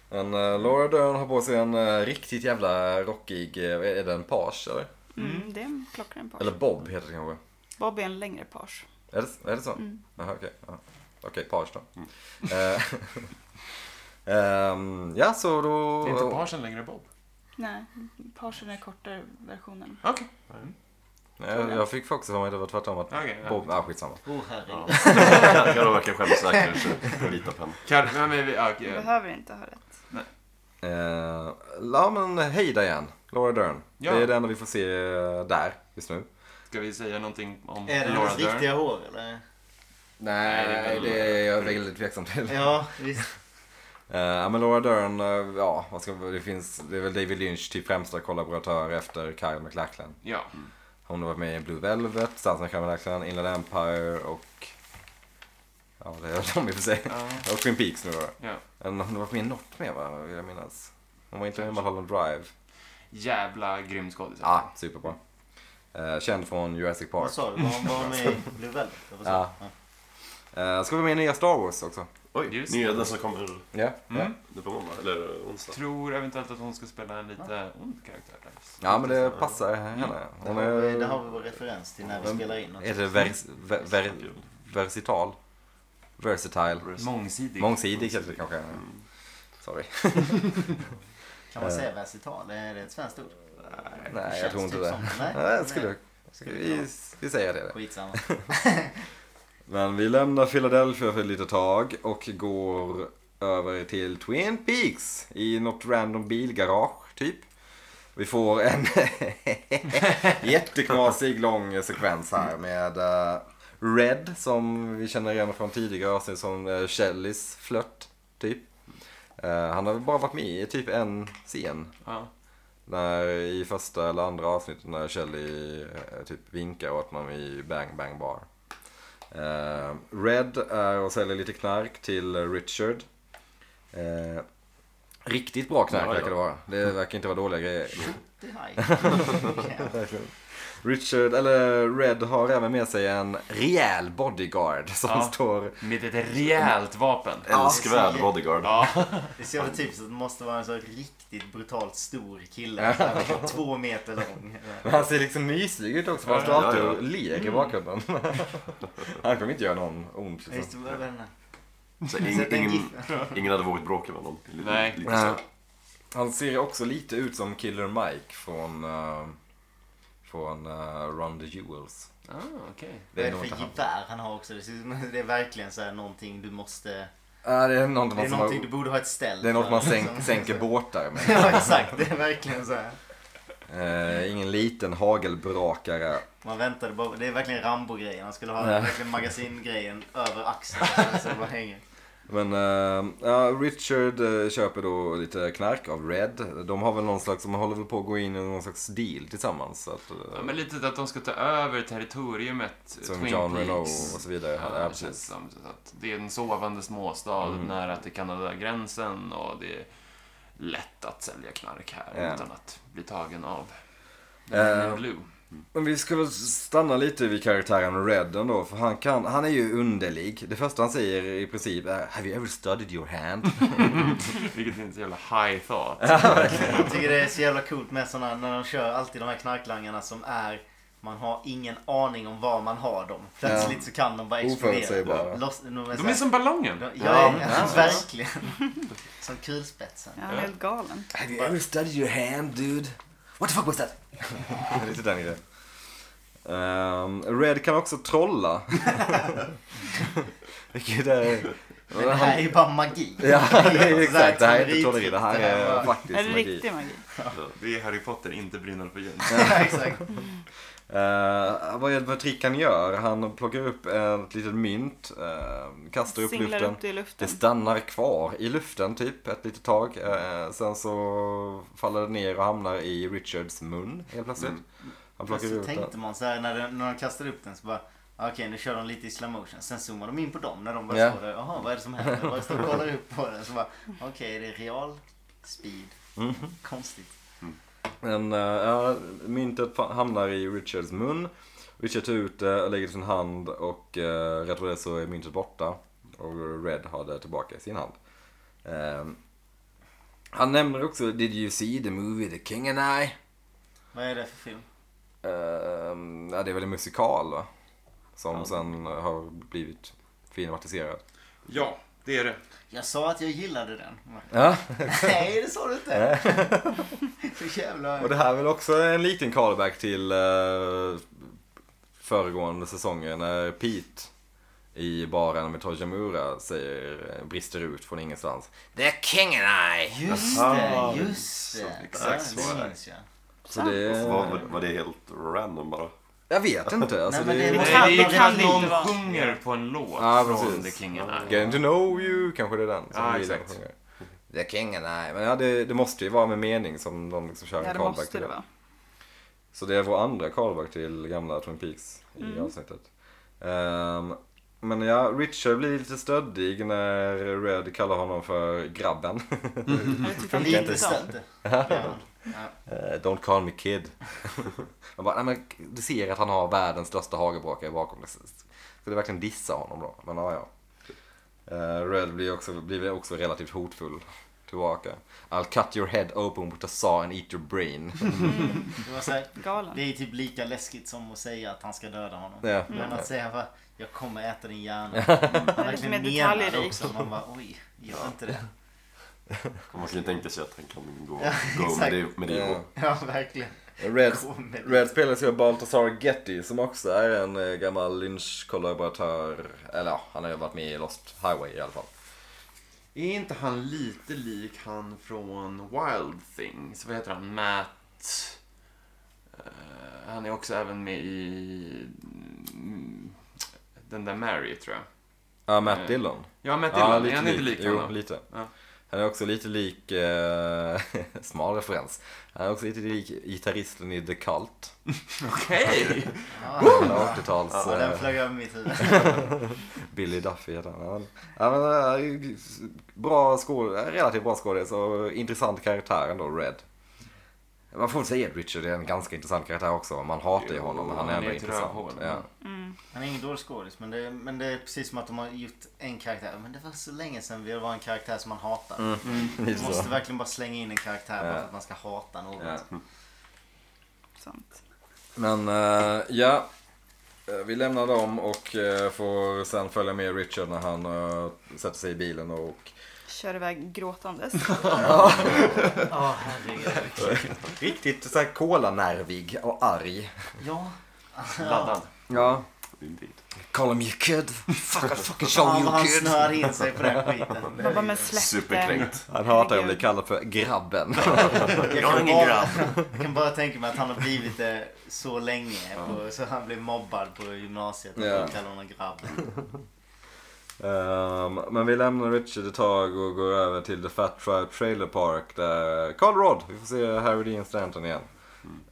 Men eh, Laura Dern har på sig en eh, riktigt jävla rockig, eh, är det en page eller?
Mm, det är en klockren page.
Eller bob heter det kanske?
Bob är en längre page.
Är det, är det så? Jaha okej. ja. Okej, page då.
Mm.
Eh, ehm, ja så då...
Det är inte Parsen längre Bob.
Nej, pagen är kortare versionen.
Okej.
Nej, jag, jag fick faktiskt för mig att det var tvärtom. Att
Okej, ja.
Bob, ah, skitsamma.
Oh herregud.
Jag de verkar självsäkra sig med vita pennor.
Kan, ja, men vi, ja,
Du
okej.
behöver inte ha rätt.
Eh, ja men hej Diane, Laura Dern.
Ja.
Det är det enda vi får se eh, där just nu.
Ska vi säga någonting om
Är det
Laura
hennes
Dern?
riktiga hår eller?
Nej,
det
Eh, det
är
är jag väldigt tveksam till.
Ja, visst.
Eh, Ja men Laura Dern, eh, ja vad ska, det, finns, det är väl David Lynch till främsta kollaboratör efter Kyle MacLachlan.
Ja.
Hon har varit med i Blue Velvet, tillsammans med Kyle MacLachlan, Inland Empire och... Ja det är väl de i och för sig.
Ja.
Och Twin Peaks nu då.
ja.
Men hon har varit med i något mer va, vill jag minnas. Hon var inte med i Mulholland Drive.
Jävla grym skådis.
Ja, superbra. Eh, känd från Jurassic Park.
Vad sa du? Var hon bara med i Blue Velvet? Vad sa
Ja.
du? Ja. alltså.
Eh, ska vi med i nya Star Wars också?
Oj,
Just
nya den som kommer
Ja. ja.
Mm.
nu på måndag, eller onsdag.
Tror eventuellt att hon ska spela en lite ond karaktär. där.
Ja men det passar henne. Hon
Där har vi- Där har
är...
vi vår referens till när vi
Vem-
spelar in något.
Är det vers, ver, ver, versital? Versatile?
Mångsidig.
Mångsidig heter det kanske. Sorry.
Kan man säga versital? Är det ett svenskt ord? Det
Eh. Nej jag
känns
tror inte
typ
det.
som-
Nej,
Nej,
jag skulle...
Skulle
Vi, vi säger det.
Skitsamma.
Men vi lämnar Philadelphia för ett litet tag och går över till Twin Peaks i något random bilgarage typ. Vi får en jätteknasig lång sekvens här med eh, Red som vi känner igen från tidigare avsnitt som uh, Shellys flört typ. Eh, han har väl bara varit med i typ en scen
Ja.
när, i första eller andra avsnittet när Shelly eh, typ vinkar åt honom i Bang Bang Bar. Eh, Red är och säljer lite knark till eh, Richard. Eh, riktigt bra knark
Ja, Mm. ja.
verkar det vara. Det verkar inte vara dåliga grejer.
Det är haj. Ja.
Richard, eller Red har även med sig en rejäl bodyguard som
Ja.
står...
Med ett rejält vapen.
Älskvärd bodyguard.
Ja.
Det är så jävla typiskt att det måste vara en så riktigt brutalt stor kille. Två meter lång.
Men han ser liksom mysig ut också för hans
Ja, ja,
dator
ja. Mm.
ler i bakgrunden. han kommer inte göra någon ont.
Ja, Just det,
Liksom.
vad är den här?
Så ing,
Sätt en
ingen,
gif.
ingen hade vågat bråka med honom. Lite-
Nej.
lite så.
Nej. Han ser också lite ut som Killer Mike från, eh, från eh, Run the Jewels.
Ah, okej.
Vad är det
nog
för
inte han.
gevär han har också? Det ser ut som- det är verkligen så här någonting du måste...
Ja, det är något
Det
man,
är
som
någonting du
har,
borde ha ett ställ
det är något
för,
man
liksom.
sänk, sänker båtar med.
Ja exakt, det är verkligen så här.
Eh, ingen liten hagelbrakare.
Man väntade bara, det är verkligen Rambo-grejen. Han skulle ha
Ja.
verkligen magazingrejen över axeln. Så det bara hänger.
Men eh, ja, Richard eh, köper då lite knark av Red. De har väl någon slags, de håller väl på att gå in i någon slags deal tillsammans. Så att, eh,
Ja, men lite att de ska ta över territoriumet. eh,
som
Twin
John
Peaks.
Renault och så vidare.
Ja,
Ja,
det känns
precis. Mm.
som så att det är en sovande småstad nära till Kanadagränsen och det är lätt att sälja knark här
Ja.
utan att bli tagen av
Eh,
Blue.
Men vi ska väl stanna lite vid karaktären Red ändå, för han, kan, han är ju underlig. Det första han säger i princip är Have you ever studied your hand?
Vilket är en så jävla high thought.
Jag tycker det är så jävla coolt med såna när de kör alltid de här knarklangarna som är man har ingen aning om var man har dem. Plötsligt så kan de bara
Oförutsägbara.
explodera. Loss, de är så
De är
här-
som ballongen.
de-
Ja.
ja, ja, verkligen. Som kulspetsen.
Ja, Han är helt galen.
Have you ever studied your hand dude? What the fuck was that? lite den grejen. Ehm, Red kan också trolla. Vilket är...
Men det här är ju bara magi.
Ja, det är
Så
exakt. Det här är inte
teoritrick,
trolleri, det här
var-
är faktiskt
Är det
magi.
riktig magi?
Det är Harry Potter, inte Brynolf och Jöns.
Ja, exakt.
Eh, vad är det för trick han gör? Han plockar upp ett litet mynt, eh, kastar upp
Singlar
luften.
upp det i
Det
luften.
stannar kvar i luften typ ett litet tag. Eh, sen så faller det ner och hamnar i Richards mun helt plötsligt. Han
Men
plockar
så
ut den.
tänkte man så här när de, när de kastade upp den så bara "Ah, Okej nu kör de lite i slow motion. Sen zoomar de in på dem när de bara
Ja.
står där. Jaha vad är det som händer? Bara står och kollar upp på den. Så bara okej det är real speed.
Mhm.
Konstigt.
Men eh, ja, myntet fa- hamnar i Richards mun. Richard tar ut det och lägger det i sin hand och eh, rätt vad det är så är myntet borta. Och Red har det tillbaka i sin hand. Eh, han nämner också Did you see the movie The King and I?
Vad är det för film?
Eh, ja, det är väl en musikal va? Som sen har blivit filmatiserad.
Ja, det är det.
Jag sa att jag gillade den.
Ja,
Nej, det sa du inte. Så jävla...
och det här är väl också en liten callback till eh, föregående säsongen när Pete i baren med Tojamura säger, "Eh, brister ut från ingenstans. The King and I!
Just
Aha,
det, just
Ah, så-
det.
exakt
ja,
så är
det.
det.
minns jag.
Så det,
Var, var det helt random bara?
jag vet inte. Alltså
Nej, men
det,
det
Nej,
kan-
det är ju
det
för
kan
att
det inte
någon
vara.
sjunger på en låt
Ja,
från The
precis.
King and I.
Getting to know you, kanske det är den som
Ja,
vi
exakt.
sjunger. The King and I. Men ja, det, det måste ju vara med mening som de liksom kör en
Ja, det
callback
måste
till
det vara.
Så det är vår andra callback till gamla Twin Peaks i avsnittet. Ehm, men ja, Richard blir lite stöddig när Red kallar honom för grabben.
Jag tyckte det var
Lite
intressant.
stöd.
Eh, Don't call me kid. Man bara, nej men du ser att han har världens största hagelbråkare bakom sig. Ska du verkligen dissa honom då? Men ja, ja. Eh, Red blir också, blir väl också relativt hotfull tillbaka. I'll cut your head open with a saw and eat your brain.
Det var så här, det
Galen.
är typ lika läskigt som att säga att han ska döda honom.
Ja.
Men att säga va, jag kommer äta din hjärna. Han verkligen
mer
menar det
detaljrik.
också. Man bara oj, gör inte det.
Man kan ju tänka sig att han kan gå,
Ja,
gå
exakt.
med det. Med det.
Ja.
Ja, verkligen.
Red,
Kom med det.
Red spelas ju av Baltasar Getty som också är en eh, gammal lynchkollaboratör. Eller ja, han har ju varit med i Lost Highway i alla fall.
Är inte han lite lik han från Wild Things? Vad heter han? Matt... Eh, han är också även med i... mm, Den där Mary, tror jag.
Ja, Matt
Eh,
Dillon.
Ja, Matt
Ja,
Dillon. är han inte
lik.
lik
Jo,
honom?
lite.
Ja.
Han är också lite lik, eh, smal referens. Han är också lite lik gitarristen i The Cult.
Okej!
Ja,
80-tals
ja, den
eh,
flög över mitt huvud.
Billy Duffy heter han. Han- han. är, eh, Bra skåd, relativt bra skådis och intressant karaktär ändå, Red. Man får väl säga att Richard är en ganska intressant karaktär också. Man hatar ju
Jo,
honom men han
han
är
är
ändå
ett
intressant.
rövhål.
Ja.
Han är ingen dålig skådis men det, men det är precis som att de har gjort en karaktär. Men det var så länge sedan vi var en karaktär som man hatar.
Mm.
Man
Lite så.
måste verkligen bara slänga in en karaktär bara
Ja.
för att man ska hata någon.
Ja.
Sant.
Men eh, ja, Eh, vi lämnar dem och eh, får sen följa med Richard när han eh, sätter sig i bilen och
Kör iväg gråtandes.
Ja, herregud.
Riktigt så här kolanervig och arg.
Ja.
Laddad.
Ja.
Indeed.
Call him you kid. Fuck, I'll fucking show
Fan
you
vad han
kid.
snör in sig på den skiten. Det är-
Jag bara, men släpp det.
Superkränkt.
Han hatar ju om det kallas för grabben.
Jag kan, bara, jag kan bara tänka mig att han har blivit det så länge. På, så han blev mobbad på gymnasiet. Och
Ja.
yeah. kallade honom grabb.
Ehm, men vi lämnar Richard ett tag och går över till The Fat Tribe Trailer Park där Carl Rod, vi får se Harry Dean Stanton igen.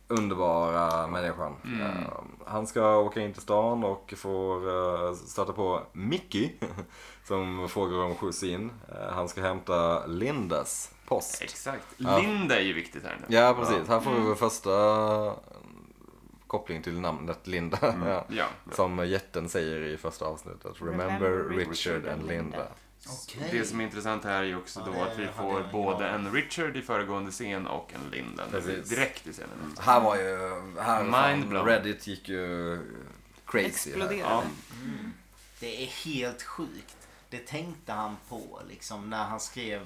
Underbara människan. Ehm, han ska åka in till stan och får uh, stöta på Mickey som frågar om skjuts in. Eh, han ska hämta Lindas post.
Exakt.
Ja.
Linda är ju viktigt här nu.
Ja, precis. Här får vi vår första eh, koppling till namnet Linda. ja.
Ja.
Som jätten säger i första avsnittet. Remember,
Remember
Richard,
Richard
and
and
Linda.
Linda.
Det som är intressant här är ju också
Ja,
då
det
att vi
hade
får
jag
både
glad.
en Richard i föregående scen och en Linda nu
Precis.
direkt i
Mm.
scenen.
Här var ju... Här
Mind
fan,
blown.
Reddit gick ju crazy. här.
Explodera.
Ja.
Det är helt sjukt. Det tänkte han på liksom när han skrev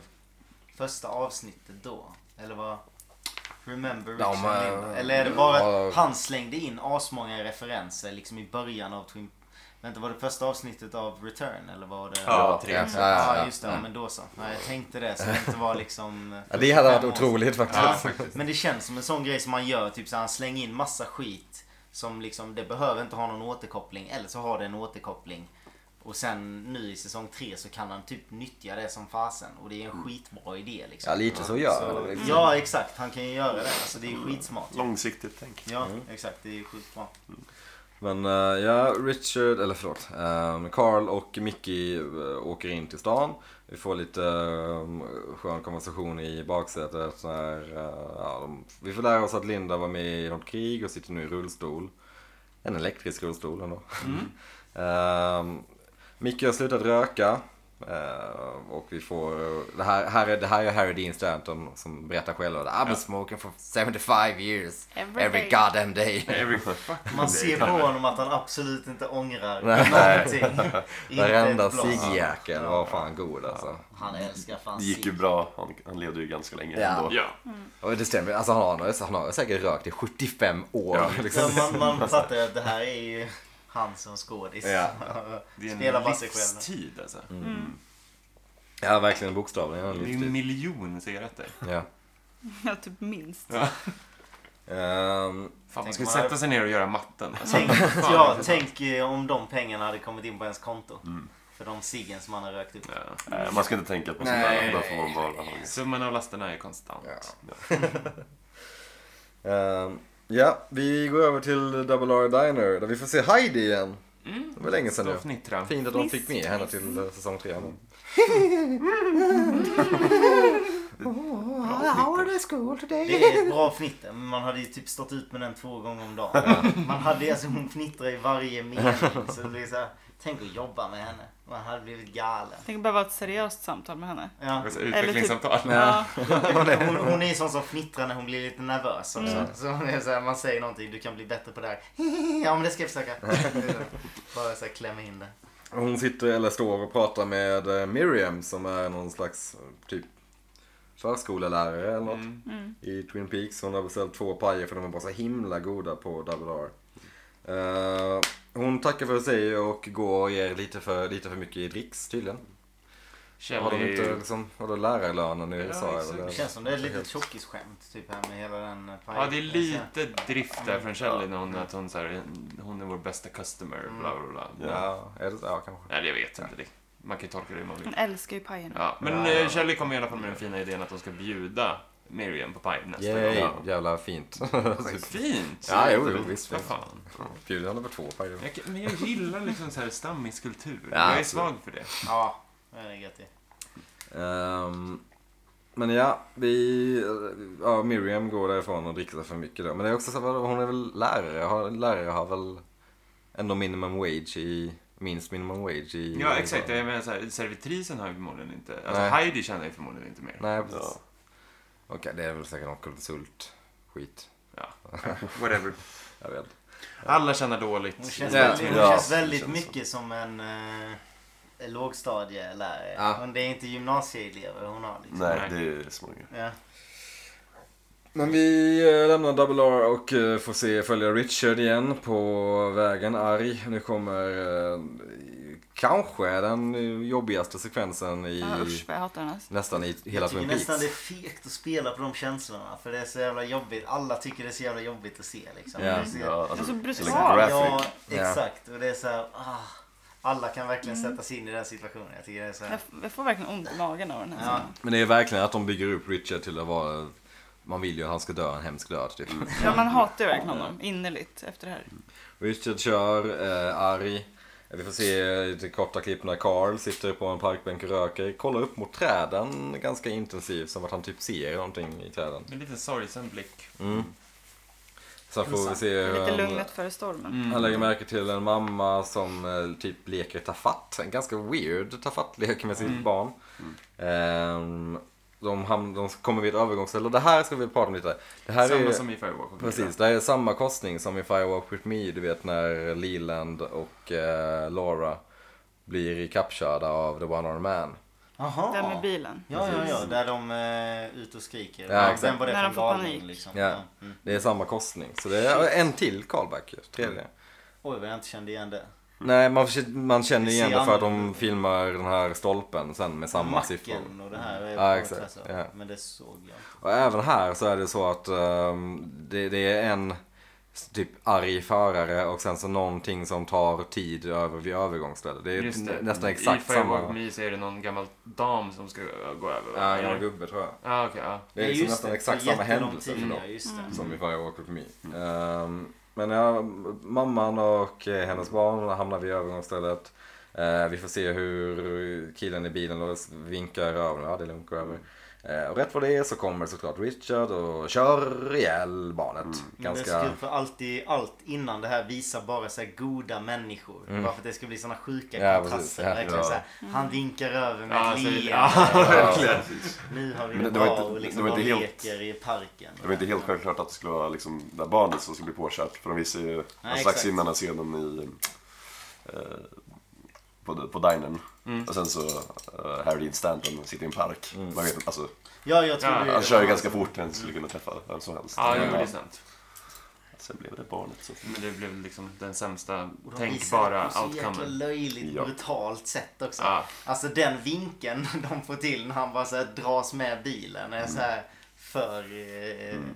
första avsnittet då. Eller vad? Remember
Ja,
Richard
men-
Linda? Eller är det bara
Ja.
att han slängde in asmånga referenser liksom i början av Twin... Vänta, var det första avsnittet av Return? Eller var det...
Ja, tre.
Ja,
Ja,
ja, ja.
just det. Ja, men då så. Ja, jag tänkte det. Så det inte var liksom...
Ja, det hade varit
fem år sedan.
otroligt
Ja,
faktiskt.
faktiskt.
Men det känns som en sån grej som man gör, typ så här, han slänger in massa skit som liksom, det behöver inte ha någon återkoppling, eller så har det en återkoppling. Och sen nu i säsong tre så kan han typ nyttja det som fasen och det är
Mm.
en skitbra idé liksom.
Ja, lite så gör han.
så,
Liksom.
ja exakt, han kan ju göra det. Alltså det är skitsmart.
Mm. Långsiktigt tänk.
Ja, exakt, det är skitbra.
Men eh, ja, Richard, eller förlåt, um, Carl och Mickey eh, åker in till stan. Vi får lite um, skön konversation i baksätet. När, eh, ja, de, vi får lära oss att Linda var med i något krig och sitter nu i rullstol. En elektrisk rullstol ändå. Mm. Mickey har Ehm, slutat röka. Eh, och vi får, det här, här, är, det här är Harry Dean Stanton som berättar själv. I've been smoking for 75 years.
Every
Every
day."
goddamn day.
Every fucking
Man
day.
ser på honom att han absolut inte ångrar
Nej.
någonting. Inte
Varenda
ett blad.
ciggjäkel var fan god alltså.
Han älskar fan
Det gick ju
cigg.
bra. Han, han levde ju ganska länge
Ja.
ändå.
Ja.
Och det stämmer, alltså han har, han har säkert rökt i 75 år.
Ja.
Liksom.
Ja, man, man fattar ju att det här är ju han som skådis.
Ja.
Det är en
Spelar bara sig själv.
livstid alltså.
Mm,
ja verkligen bokstavligen.
Det är en miljon cigaretter.
Ja.
Ja, typ minst.
Ehm,
Fan, man
Tänk om
skulle
man
sätta
hade-
sig ner och göra matten. Alltså,
Tänk,
fan.
ja, tänk eh, om de pengarna hade kommit in på ens konto.
Mm.
För de ciggen som man har rökt upp.
Ja.
Nej, Eh, Man ska inte tänka på sånt
Nej.
där. Där får man bara...
Summan av lasterna är konstant.
Ja. ehm, ja, vi går över till Double R Diner där vi får se Heidi igen.
Mm.
Det var länge sedan
Stå
nu.
och fnittra.
Fint att de fick med henne till eh, säsong tre. ändå.
Det är ett bra fnitter. Men man hade ju typ stått ut med den två gånger om dagen. Man hade ju alltså hon fnittrar i varje mening. Så det blir så här, tänk att jobba med henne. Man hade blivit galen.
Tänk att behöva ha ett seriöst samtal med henne.
Ja.
Alltså,
typ-
Utvecklingssamtal.
Ja.
Hon, hon är ju sån som fnittrar när hon blir lite nervös också.
Mm.
Så hon är så här, man säger någonting, du kan bli bättre på det här. Ja men det ska jag försöka. Bara så här, klämma in det.
Hon sitter eller står och pratar med eh, Miriam som är någon slags eh, typ förskollärare eller något
Mm.
i Twin Peaks. Hon har beställt två pajer för de är bara så himla goda på Double R. Eh, hon tackar för sig och går och ger lite för, lite för mycket i dricks tydligen. Har de inte liksom, har de lärarlönen i
Ja,
USA
exakt.
eller?
Det känns som det är lite tjockisskämt typ här med hela den
Ja, det är lite drift där från Shelley när hon, att hon, så här, hon är vår bästa customer, bla bla bla.
Ja, är det, ja kanske.
Nej, jag vet inte. Det. Man kan ju tolka det hur man vill.
Hon älskar ju pajerna.
Ja. Men
Ja, ja, ja.
eh, Shelley kommer i alla fall med den fina idén att de ska bjuda Miriam på paj nästa
Yay,
gång.
jävla fint.
Fint!
Ja, jo, jo, visst,
Vad
visst.
fan.
Bjuder henne på två pajer.
Jag, kan- men jag gillar liksom så här stammiskultur.
Ja,
jag är
absolut.
svag för det.
Ja, det är gött det.
Ehm, men ja, vi, ja, Miriam går därifrån och dricker för mycket då. Men det är också så här, hon är väl lärare, har, lärare har väl ändå minimum wage i, minst minimum wage i...
Ja, exakt. Jag menar så här, servitrisen har ju förmodligen inte... Alltså
Nej.
Heidi känner ju förmodligen inte mer.
Nej, precis.
Ja.
Okej, det är väl säkert någon konsultskit.
Whatever.
Jag vet inte.
Alla känner dåligt.
Hon känns
Ja.
väldigt, hon
Ja,
känns
det
väldigt
känns så.
mycket som en eh, lågstadielärare.
Ja.
Hon, det är inte gymnasieelever hon har liksom.
Nej, det är smånga.
Ja.
Men vi eh, lämnar Double R och eh, får se följa Richard igen på vägen arg. Nu kommer eh, kanske den jobbigaste sekvensen i
Ja, usch vad jag hatar henne.
nästan i hela
Jag tycker
Twin
nästan det är
Peaks.
fegt att spela på de känslorna. För det är så jävla jobbigt. Alla tycker det är så jävla jobbigt att se liksom.
Ja.
Det är så-
Ja,
Det är så
alltså,
brutalt.
till en
ja
graphic.
Ja.
exakt. Och det är så här, ah, alla kan verkligen
Mm.
sätta sig in i den situationen. Jag tycker det är så här,
Jag, jag får verkligen ont i magen av den här
Ja.
scenen.
Men det är verkligen att de bygger upp Richard till att vara... Man vill ju att han ska dö en hemsk död typ.
Ja, man hatar ju verkligen honom innerligt efter det här.
Richard kör, eh, arg. Vi får se eh, lite korta klipp när Carl sitter på en parkbänk och röker. Kollar upp mot träden ganska intensivt som att han typ ser någonting i träden.
Med lite sorgsen blick.
Mm. Sen får vi se hur
Lite
han,
lugnet före stormen.
han lägger märke till en mamma som eh, typ leker tafatt. En ganska weird tafattlek med sitt
Mm.
barn. Ehm, de, ham- de kommer vid ett övergångsställe. Och Det här ska vi prata om lite. Det här
Samma
är,
som i Firewalk och
Precis, det här är samma kostning som i Firewalk With Me. Du vet när Leland och eh, Laura blir ikappkörda av The One Armed Man.
jaha.
Den med bilen.
Ja, ja, ja. Där de är ute och skriker.
Ja,
Ja,
exakt.
Sen var det
När
från
de får panik.
galning liksom.
Ja. Det är samma kostning. Så det är en till callback. ju, Tredje.
Oj, vad jag inte kände igen det.
Nej, man, man känner igen
Ser
det för att de
annorlunda.
filmar den här stolpen sen med samma
Macken
siffror.
och det här. Är
Ja,
på ett
exakt,
träffar.
ja.
Men det såg jag inte.
Och även här så är det så att ehm, det, det är en s- typ arg förare och sen så någonting som tar tid över vid övergångsstället. Det är
Just det.
nä- nästan exakt
I Firewalk
samma.
Me så är det någon gammal dam som ska ö, gå över.
Ja,
eller?
en gubbe tror jag.
Ja, okej. ja.
Det är
Ja,
liksom
just
nästan
det.
exakt
Det är
samma
jättelång
händelse
tid, Mm.
för dem. Mm.
ja, just det.
Som i Fire Walk With Me. Ehm, men ja, mamman och eh, hennes barn hamnar vid övergångsstället. Eh, vi får se hur killen i bilen då vinkar över. Ja, det är lugnt, gå över.
Mm.
Eh, Och rätt vad det är så kommer såklart Richard och kör ihjäl barnet.
Mm. Det är
Ganska...
så kul, för alltid, allt innan det här visar bara så här goda människor. Bara för att det ska bli sådana sjuka
Ja, precis.
kontraster.
Ja.
verkligen
Ja.
så här, han vinkar över med
Mm. Ja,
ett
så-
leende.
ja, verkligen.
Nu har vi
Men
det
det var
bra
inte-
och
det
liksom
var
bara
inte helt-
leker i parken.
Det var inte helt självklart att det skulle vara liksom det här barnet som skulle bli påkört. För de visar ju Nej, strax
exakt.
innan den scenen i... Eh, på, på dinern.
Mm.
Och sen så eh, Harry Dean Stanton sitter i en park.
Mm.
Man vet inte, alltså,
Ja, jag tror
Ja,
det.
han kör ju ganska fort. Han skulle kunna träffa vem som helst.
Ja, jo, det är sant.
Sen blev det barnet. Så.
Men det blev liksom den sämsta
Och de visar det
tänkbara
på så jäkla
outcomen.
löjligt
Ja.
brutalt sätt också.
Ja.
Alltså den vinkeln de får till när han bara så här dras med bilen är så här för, eh,
Mm.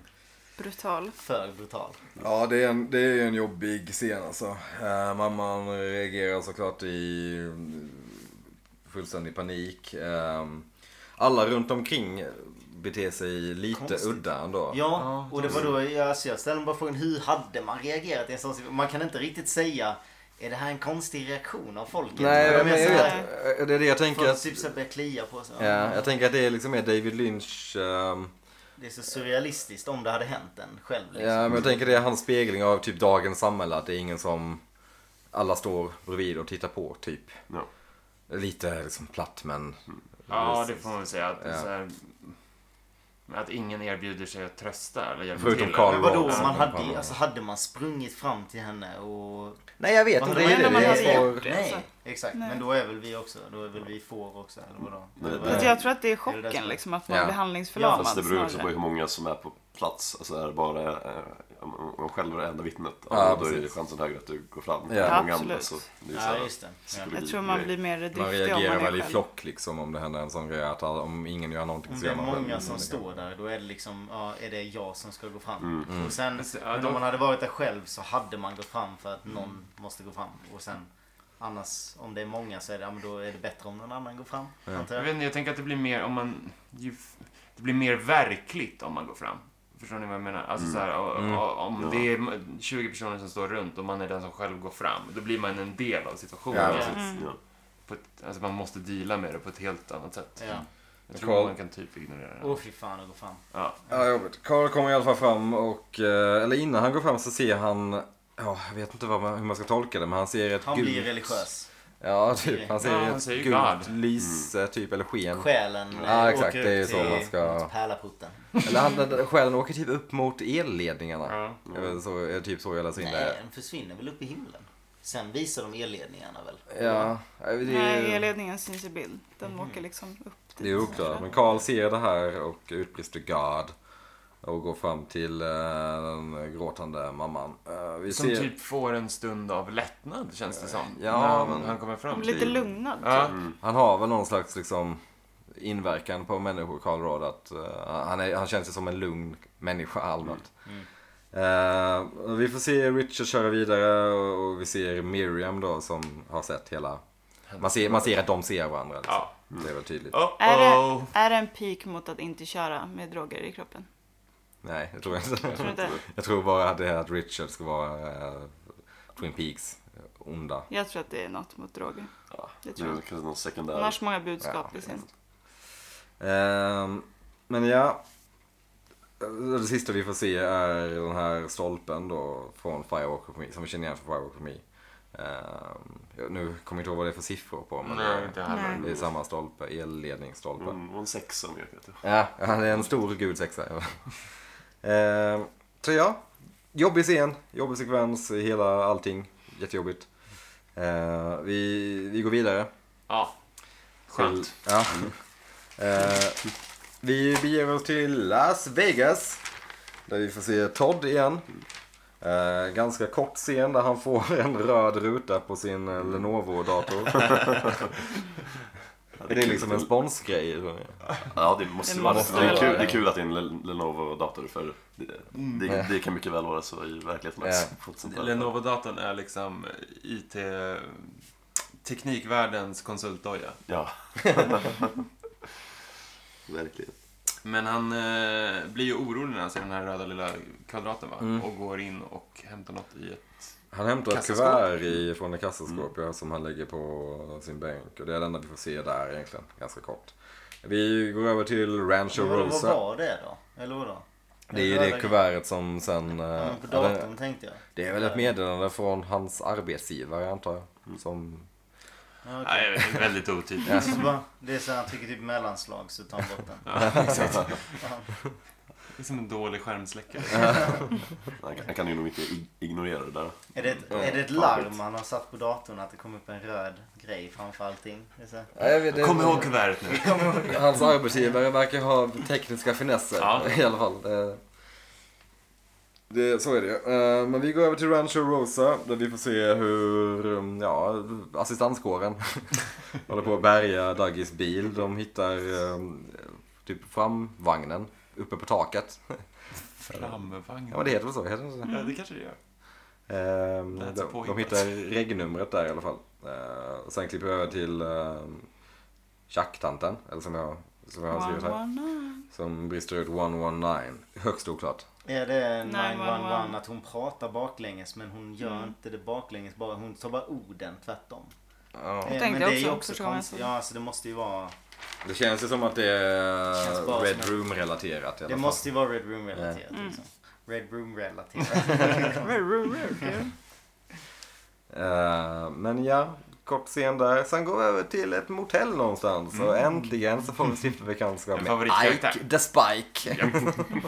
Brutal.
för brutal.
Ja, det är, en, det är en jobbig scen alltså. Eh, mamman reagerar såklart i eh, fullständig panik. Eh, alla runt omkring beter sig lite
Konstigt.
udda ändå.
Ja, och det var då jag, alltså jag ställde mig bara frågan hur hade man reagerat i en sån situation? Man kan inte riktigt säga är det här en konstig reaktion av folket?
Nej,
De är
men jag
så
vet.
här,
Eh, Det är det jag tänker
Folk
att...
typ så här börjar klia på sig.
Ja, jag tänker att det är liksom mer David Lynch... ehm,
Det är så surrealistiskt om det hade hänt en själv. Liksom.
Ja, men jag tänker det är hans spegling av typ dagens samhälle. Att det är ingen som... Alla står bredvid och tittar på, typ.
Ja.
Lite liksom platt, men...
Ja, det får man väl säga. Att,
Ja.
så här, att ingen erbjuder sig att trösta eller hjälpa
Förutom
till.
Karl
Men vadå,
Ja,
man
fan,
hade,
fan.
alltså, hade man sprungit fram till henne och...
Nej, jag vet
Vad
inte.
hade
Det
man
är
gjort
det.
om man
Det är
hade
för-
gjort
Nej,
Alltså,
exakt.
nej.
Men då är väl vi också, då är väl vi får också, eller vadå?
Nej,
Eller
det-
vad?
Alltså, jag tror att det är
det där som
chocken
är-
liksom att man
Ja.
blir handlingsförlamad
Fast det beror också på
snarare.
hur många som är på plats. Alltså är det bara eh, om om man själv är det enda vittnet.
Ja,
Ja, då är ju
precis.
chansen högre att du går fram.
Ja,
Hur många
absolut.
andra, så det är ju så
Ja,
här,
just det. Ja.
psykologi-
Jag tror man blir mer
Man
driftig om man
reagerar
är
väl i
själv.
flock liksom om det händer en sån grej att alla- om ingen gör någonting
Om
så
det
gör
är
man själv
många
någonting.
som står där, då är det liksom, ja, är det jag som ska gå fram?
Mm,
Och sen,
Precis, ja,
men
då-
om man hade varit där själv så hade man gått fram för att någon måste gå fram. Och sen, annars, om det är många så är det, ja, men då är det bättre om någon annan går fram. Antar
Jag
jag.
vet inte, jag tänker att det blir mer om man... Ju, f- det blir mer verkligt om man går fram. Förstår ni vad jag menar? Alltså så här, o- o- om
Ja.
det är 20 personer som står runt och man är den som själv går fram, då blir man en del av situationen.
Ja,
Alltså,
precis. Ja.
på ett, alltså man måste deala med det på ett helt annat sätt.
Ja.
Jag tror
Carl-
man kan typ ignorera
Åh
det.
fy fan att gå fram.
Ja.
Ja, jobbigt. Karl kommer i alla fall fram och, eh, eller innan han går fram så ser han, ja, jag vet inte vad man, hur man ska tolka det, men han ser ett
Han
gult.
blir religiös.
Ja, typ. Han ser
Ja, han
ett
ser ju
gult
glad.
lyse, typ, eller sken.
Själen eh,
Ja, exakt,
åker
det är
ut
så
till
man ska-
mot pärlaporten.
Eller han, själen åker typ upp mot elledningarna.
Ja.
Jag vet, så, är typ så jag läser in
Nej,
det.
den försvinner väl upp i himlen. Sen visar de elledningarna väl?
Ja, det
Nej,
är, Mhm.
elledningen syns i bild. Den åker liksom upp dit.
det är oklart. Men Karl ser det här och utbrister God. Och går fram till eh, den gråtande mamman. Eh, vi
Som
ser...
typ får en stund av lättnad, känns det som.
Ja,
när han,
men- Typ.
han kommer fram
Man blir lite
till-
lugnad.
Ja.
Han har väl någon slags liksom inverkan på människor, Karl Råd, att eh, han, är, han känns ju som en lugn människa allmänt.
Mm.
Eh, vi får se Richard köra vidare och, och vi ser Miriam då som har sett hela... Man ser, man ser att de ser varandra. Liksom.
Ja.
Det är väl tydligt.
Är,
Uh-oh.
det, är det en pik mot att inte köra med droger i kroppen?
Nej, jag tror inte.
Tror du inte?
Jag tror bara att det är att Richard ska vara eh, Twin Peaks eh, onda.
Jag tror att det är något mot droger.
Ja.
Det
Det
tror
är
jag.
kanske någon sekundär...
Hon har så många budskap i sin.
Ehm, men ja. Eh, Det sista vi får se är den här stolpen då från Firewalk of Me, som vi känner igen från Firewalk of Me. Ehm, jag- nu kommer jag inte ihåg vad det är för siffror på, men
Nej,
det,
inte heller.
Nej.
Mm.
det är samma stolpe, elledningsstolpe.
Hon, hon sexa mer vet jag.
Ja, ja, det är en stor gul sexa. Ehm, så ja, jobbig scen, jobbig sekvens, hela allting, jättejobbigt. Ehm, vi, vi går vidare.
Ja. Skönt.
Ja. Eh, vi beger oss till Las Vegas. Där vi får se Todd igen. Eh, ganska kort scen där han får en röd ruta på sin eh, Lenovo-dator. det är liksom en sponsgrej. tror jag.
Ja, det måste
Det
vara
måste
det. Är
väl
kul,
vara
det är kul att det är en Le- Lenovo-dator för det, det, det kan mycket väl vara så i verkligheten också.
Mm. Ja.
På ett sånt där.
Lenovo-datorn är liksom IT... Teknikvärldens konsultdoja.
Ja. Verkligen.
Men han eh, blir ju orolig när han ser den här röda lilla kvadraten va?
Mm.
Och går in och hämtar något i ett...
Han hämtar ett
Kassaskåp.
kuvert
Mm.
i, från ett kassaskåp ja, som han lägger på sin bänk. Och det är det enda vi får se där egentligen. Ganska kort. Vi går över till Rancho
Men vadå, vad
Rosa.
var det då? Eller vadå?
Det är ju det kuvertet som sen... eh,
Ja, men På
ja,
datorn Eh.
det,
tänkte jag.
det är väl ett meddelande från hans arbetsgivare antar
Mm.
jag. Som,
Ja, okej.
Nej, jag vet, väldigt otydligt.
Så bara, det är så han trycker typ mellanslag så tar han bort den.
Ja, exakt. Det är som en dålig skärmsläckare.
Han kan- han kan ju nog inte ig- ignorera det där.
Är det, ett, är det ett larm han har satt på datorn att det kommer upp en röd grej framför allting? Det är så här.
ja, jag vet, det,
Kom ihåg kuvertet nu.
Hans arbetsgivare verkar ha tekniska finesser
Ja.
i alla fall. Det, det, så är det ju. Eh, Men vi går över till Rancho Rosa där vi får se hur mm, ja, assistanskåren håller på att bärga Daggies bil. De hittar eh, typ framvagnen uppe på taket.
Framvagn.
Ja men det heter väl så? Heter det inte det?
Ja, det kanske det gör.
Ehm,
Mm. That's
de,
point.
de hittar regnumret där i alla fall. Ehm, och sen klipper vi över till ehm, Tjacktanten, eller som jag, som jag har skrivit här. Som brister ut 119. Högst oklart.
Är det 911
911?
att hon pratar baklänges men hon gör
Mm.
inte det baklänges bara. Hon tar bara orden tvärtom.
Ja.
Eh,
tänkte
men
jag
det är ju
också,
också
förstår jag
konstigt.
så.
Ja, alltså det måste ju vara.
Det känns ju som att det
Känns
är
bara
Red
som
Room-relaterat i alla
Det
fall.
måste ju vara Red Room relaterat. Liksom. Red Room relaterat.
Ehm, men ja, kort scen där. Sen går vi över till ett motell någonstans. Och äntligen så får vi stifta bekantskap
En
med
favoritkaraktär.
Ike the Spike.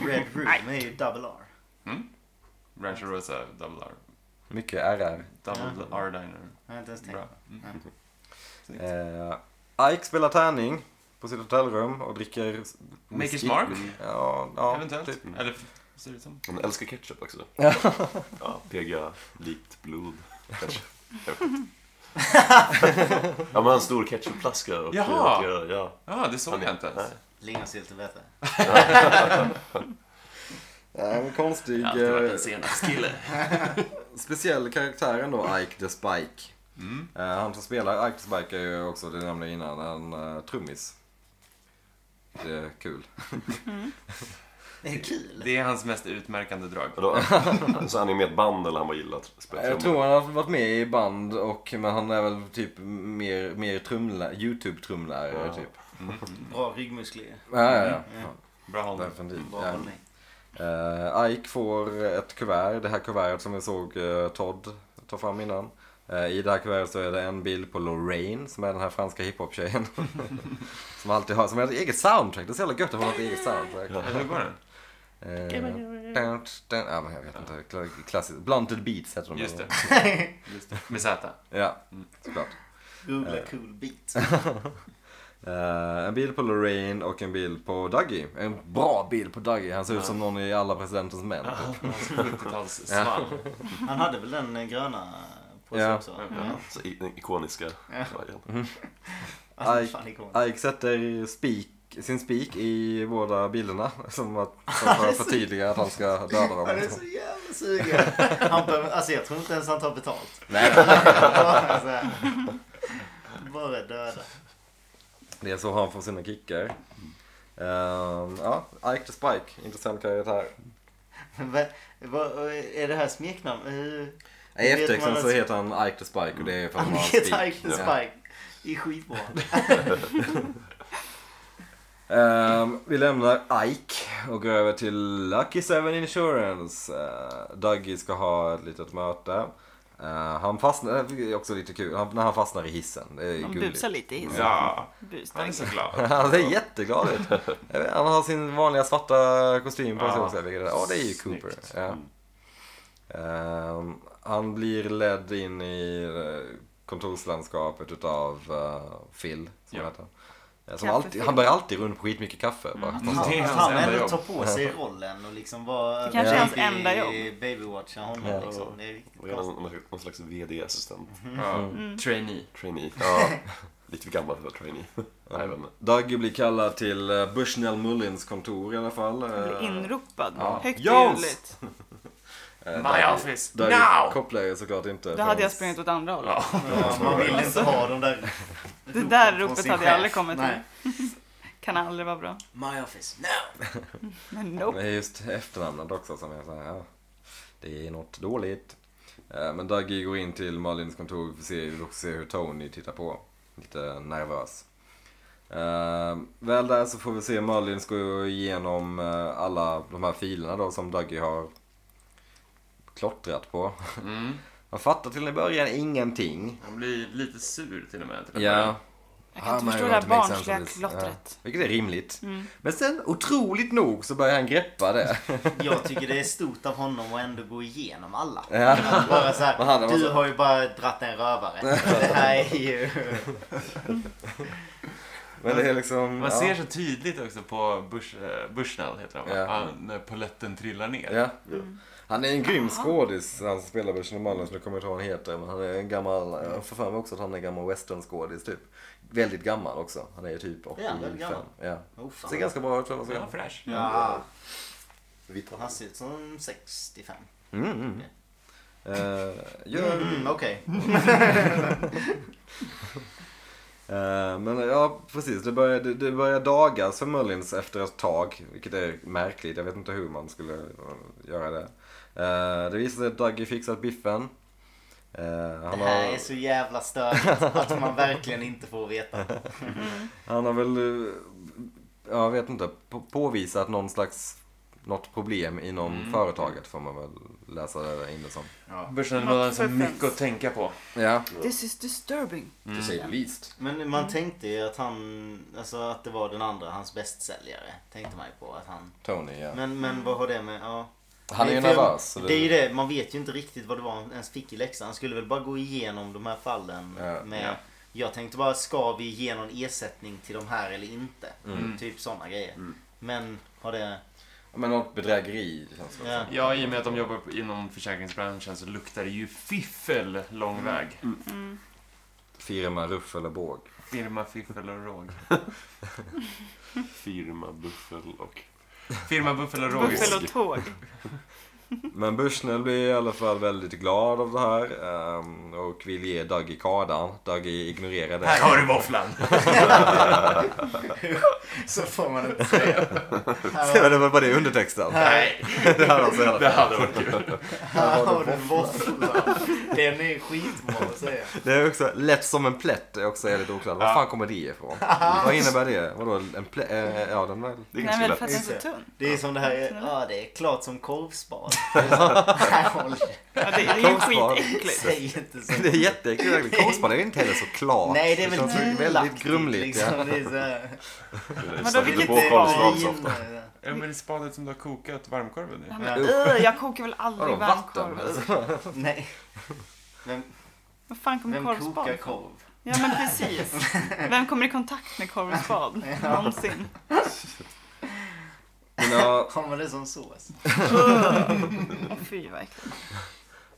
Red Room är ju double R.
Mm. Rancho Rosa, Double R.
Mycket RR.
Double R-diner.
Jag har inte ens tänkt
Bra. Mm.
på.
Eh, Ike spelar tärning på sitt hotellrum och dricker...
Maker's
whisky.
Mark,
Ja, ja
eventuellt.
typ.
Eller, vad ser det ut som?
Han älskar ketchup också. ja, PGA, likt blod. Ketchup. Jag vet inte. ja, men han har en stor ketchupflaska och
Jaha.
och- och- ja.
Ja, Ah, det såg jag inte ens.
Nej.
Lingonsylt är bättre.
Ja, en konstig,
Jag har alltid varit
eh,
en senapskille.
speciell karaktär ändå, Ike the Spike. Eh, han som spelar Ike the Spike är ju också, det nämnde jag innan, en eh, trummis. Det är kul.
Det är kul.
Det är hans mest utmärkande drag.
Och Då, så han är med i ett band eller han bara gillar att spela
Jag tror han har varit med i band och, men han är väl typ mer, mer trumlä- YouTube-trumlärare
Ja.
typ.
Bra ryggmuskler.
Ja, ja, ja.
Bra
ja.
hållning.
Definitivt.
Bra
Ja.
hållning.
Eh, Ike får ett kuvert, det här kuvertet som vi såg eh, Todd ta fram innan. Eh, I det här kuvertet så är det en bild på Lorraine som är den här franska hiphop-tjejen. som alltid har, som har ett eget soundtrack. Det är så jävla gött att hon har ett eget soundtrack.
Eller hur går den?
Eh, dun, dun, ja, men jag vet inte. Kla- Klassiskt. Blunted Beats heter de.
Just det. Mm. Just det. Med Z.
Ja, såklart.
Googla cool beat.
Eh, en bild på Lorraine och en bild på Dougie. En bra bild på Dougie. Han ser ut som någon i Alla Presidentens Män.
Hans 70-talssvall.
Han hade väl den eh, gröna på sig
Ja.
också? Mm. va?
Ja.
Så i, den ikoniska varianten.
Alltså,
Aj.
fan, det kommer.
Ike sätter spik, sin spik i båda bilderna. Som att som för att förtydliga att han ska döda
Han är
dem.
så jävla sugen. Han behöver, alltså jag tror inte ens han tar betalt.
Nej,
Bara, så här. Bara döda.
Det är så han får sina kickar. Ehm, ja, Ike the Spike. Intressant karaktär.
Men, vad, är det här smeknamn? Eh, Hur-
I
hur vet
eftertexten
man
så
att-
heter han Ike the Spike och det är för att
Han
han har en
heter
spik.
Ike the
Ja.
Spike. Det är skitbra.
Ehm, vi lämnar Ike och går över till Lucky Seven Insurance. Uh, Dougie ska ha ett litet möte. Eh, han fastnar, det är också lite kul, han, när han fastnar i hissen. Det är
De
gulligt.
busar lite i hissen.
Ja,
Bus, liksom
han är så glad.
Han ser jätteglad ut. Jag vet, Han har sin vanliga svarta kostym på sig
Ja.
också. vilket är- Ja, Mm. det är ju Cooper.
Snyggt.
Ja. Ehm, han blir ledd in i eh, kontorslandskapet utav eh, Phil, som
Ja.
han heter. Eh, Som
Kaffe
alltid,
Phil. Mm.
han bär alltid runt på skitmycket kaffe. Bara.
Det
Han,
är hans
han
enda
ändå
jobb.
tar på sig rollen och liksom vara
Det kanske är hans
baby-
enda jobb.
babywatcha honom
Ja.
liksom. Det är riktigt
Vad är
konstigt.
han? Någon- Någon slags VD-assistent.
Ja. Trainee.
Trainee. Mhm. Ja. Lite för gammal för att vara trainee. Nej, men,
Dougie blir kallad till eh, Bushnell Mullins kontor i alla fall.
Han blir
Eh,
inropad.
Ja.
Högt och
Jones!
ljudligt.
eh,
My
Dougie-
office.
Dougie
Now!
kopplar ju såklart inte.
Då hade jag
hans-
sprungit åt andra hållet.
Ja, man vill inte ha de där
Det där
ropen från
ropet
sin
hade
chef.
jag aldrig kommit
Nej.
till. Kan aldrig vara bra.
My office now!
Men nope.
Det är just efternamnet också som jag säger, ja, det är något dåligt. Eh, Men Dougie går in till Malins kontor för att se, för att se hur Tony tittar på. Lite nervös. Eh, väl där så får vi se Merlin ska ju igenom eh, alla de här filerna då som Dougie har klottrat på.
Mm.
Han fattar till en början ingenting.
Han blir lite sur till och med. Till att
Ja.
börja.
Jag kan
Ah,
inte
men
förstå det här
var inte make sense
barnsliga
of this.
klottret.
Ja. Vilket är rimligt. Men sen otroligt nog så börjar han greppa det.
Jag tycker det är stort av honom att ändå gå igenom alla.
Ja.
Bara så
Men han
här,
var
du
så-
har ju bara dratt en rövare. Det här är ju...
Men det är liksom...
Man
ja.
ser så tydligt också på Bush, eh, Bushnell, heter han va?
Ja.
Ja, När poletten trillar ner.
Ja.
Mm.
Han är en grym skådis, han som spelar Börsel Mullins, nu kommer jag inte ihåg vad han heter. Men han är en gammal, jag får för mig också att han är en gammal westernskådis typ. Väldigt gammal också, han är ju typ 85.
Ja, väldigt gammal.
Ja.
Oh, fan.
Ser ganska bra ut tror jag.
Så är
vad
han
jag ska-
fräsch.
Ja,
Vitt hår.
han ser ut som 65.
Mm, mm. Eh, gör-
Mm, okej.
Eh, men ja, precis. Det börjar, det, det börjar dagas för Mullins efter ett tag. Vilket är märkligt. Jag vet inte hur man skulle eh, göra det. Eh, det visar sig att Dougie fixat biffen. Eh,
Det
han,
här är
har,
så jävla störigt att man verkligen inte får veta.
han har väl, eh, jag vet inte, på, påvisat någon slags, något problem inom
Mm.
företaget får man väl läsa det in det som.
Bushnell
Not
har så
for
mycket
friends.
att tänka på.
Ja.
This is disturbing.
To say the
Mm.
least.
Men man tänkte ju att han, alltså att det var den andra, hans bästsäljare. Tänkte man ju på att han.
Tony, ja.
Men, men vad har det med, ja.
Han är ju
För jag-
nervös. så
Det är ju det, man vet ju inte riktigt vad det var han ens fick i läxan. Han skulle väl bara gå igenom de här fallen
Ja.
med
Ja.
Jag tänkte bara, ska vi ge någon ersättning till de här eller inte? Typ sådana grejer. Men har det...
Men något bedrägeri känns det
Ja.
som.
Ja, i och med att de jobbar på- inom försäkringsbranschen så luktar det ju fiffel lång väg.
Mm.
Firma, ruff eller båg.
Firma fiffel och råg.
Firma, buffel och...
Firma buffel och råg.
Buffel och tåg.
Men Bushnell blir i alla fall väldigt glad av det här ehm, och vill ge Dougie kardan. Dougie ignorerar det.
Här har du våfflan!
Så får man inte säga. Här
Ja,
har-
det var bara det undertexten.
Nej,
Det här alltså i alla
det
fall.
hade varit kul.
Här har du våfflan. Den är skitbra att säga.
Det är också lätt som en plätt är också väldigt oklart. Vad fan kommer det ifrån? Vad innebär det? Vadå en plätt? Eh, Ja, den väl.
Det
Nej
är ganska
men
lätt.
för att den är så tunn.
Det är som det här, ja det är klart som korvspad. Det är så- Nej, håll
Ja, det, det är ju
Kungsbad.
skitäckligt.
Säg inte så.
Det är jätteäckligt. Korsband är ju inte heller så klart.
Nej det är väl
känns väldigt
tvivelaktigt
grumligt.
liksom.
Ja.
Det är så här.
Men då
Snabbt
vilket
på
barn?
korvslagsofta.
Ja, men det är spadet som du har kokat varmkorven i.
Ja, men, öh, jag kokar väl aldrig
Vadå, vatten? alltså?
varmkorv. Öh.
Nej. Vem,
Vad fan kommer
vem kokar
korvspad
korv?
Ja men precis. Vem kommer i kontakt med korv och spad? Någonsin.
Men ja,
Har man det som sås?
Åh, Fy vad äckligt.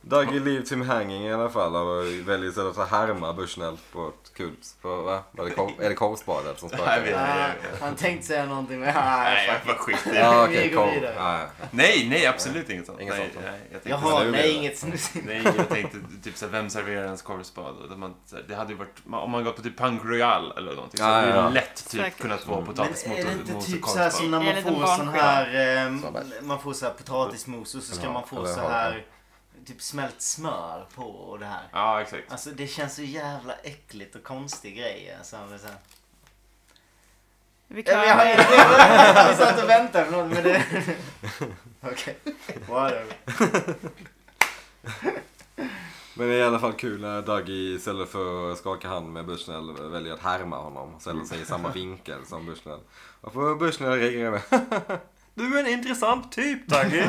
Dougie leaves him hanging i alla fall och väljer istället att härma Bushnell på ett kul... på- Va? Var det kor- Är det korvspadet som
Nej,
sparkar?
vi-
Ah, han tänkte säga någonting men Ah, nej.
Nej, vad skit i.
Ja,
Vi
okej.
går
Kom.
vidare.
Ja, ja.
Nej, nej, absolut inget sånt.
Inget
nej,
sånt, va?
nej, jag tänkte
Jaha,
så här,
nej inget snus.
Nej, jag tänkte typ såhär, vem serverar ens korvspad? Och att man, så här, Det hade ju varit, om man går på typ Punk Royal eller någonting så
Ja,
hade
ja, ja.
det lätt typ
Säkert.
kunnat vara
Men är det
potatismos
inte
och
typ så här som
korvspad.
när
En
man
liten
får sån
barnskiva.
här, ehm,
Sådär.
man får så här potatismos och så ska
Ja,
man få
eller
så
har-
här typ smält smör på och det här.
Ja, exakt.
Alltså det känns så jävla äckligt och konstig grej. Alltså, men så här.
Vi
Ja, men jag har
klarar det.
jag satt och väntade på något men det... Okej, whatever.
Men det är i alla fall kul när Dougie istället för att skaka hand med Bushnell väljer att härma honom och ställer sig i samma vinkel som Bushnell. Och får Bushnell reagera med Du är en intressant typ Dougie!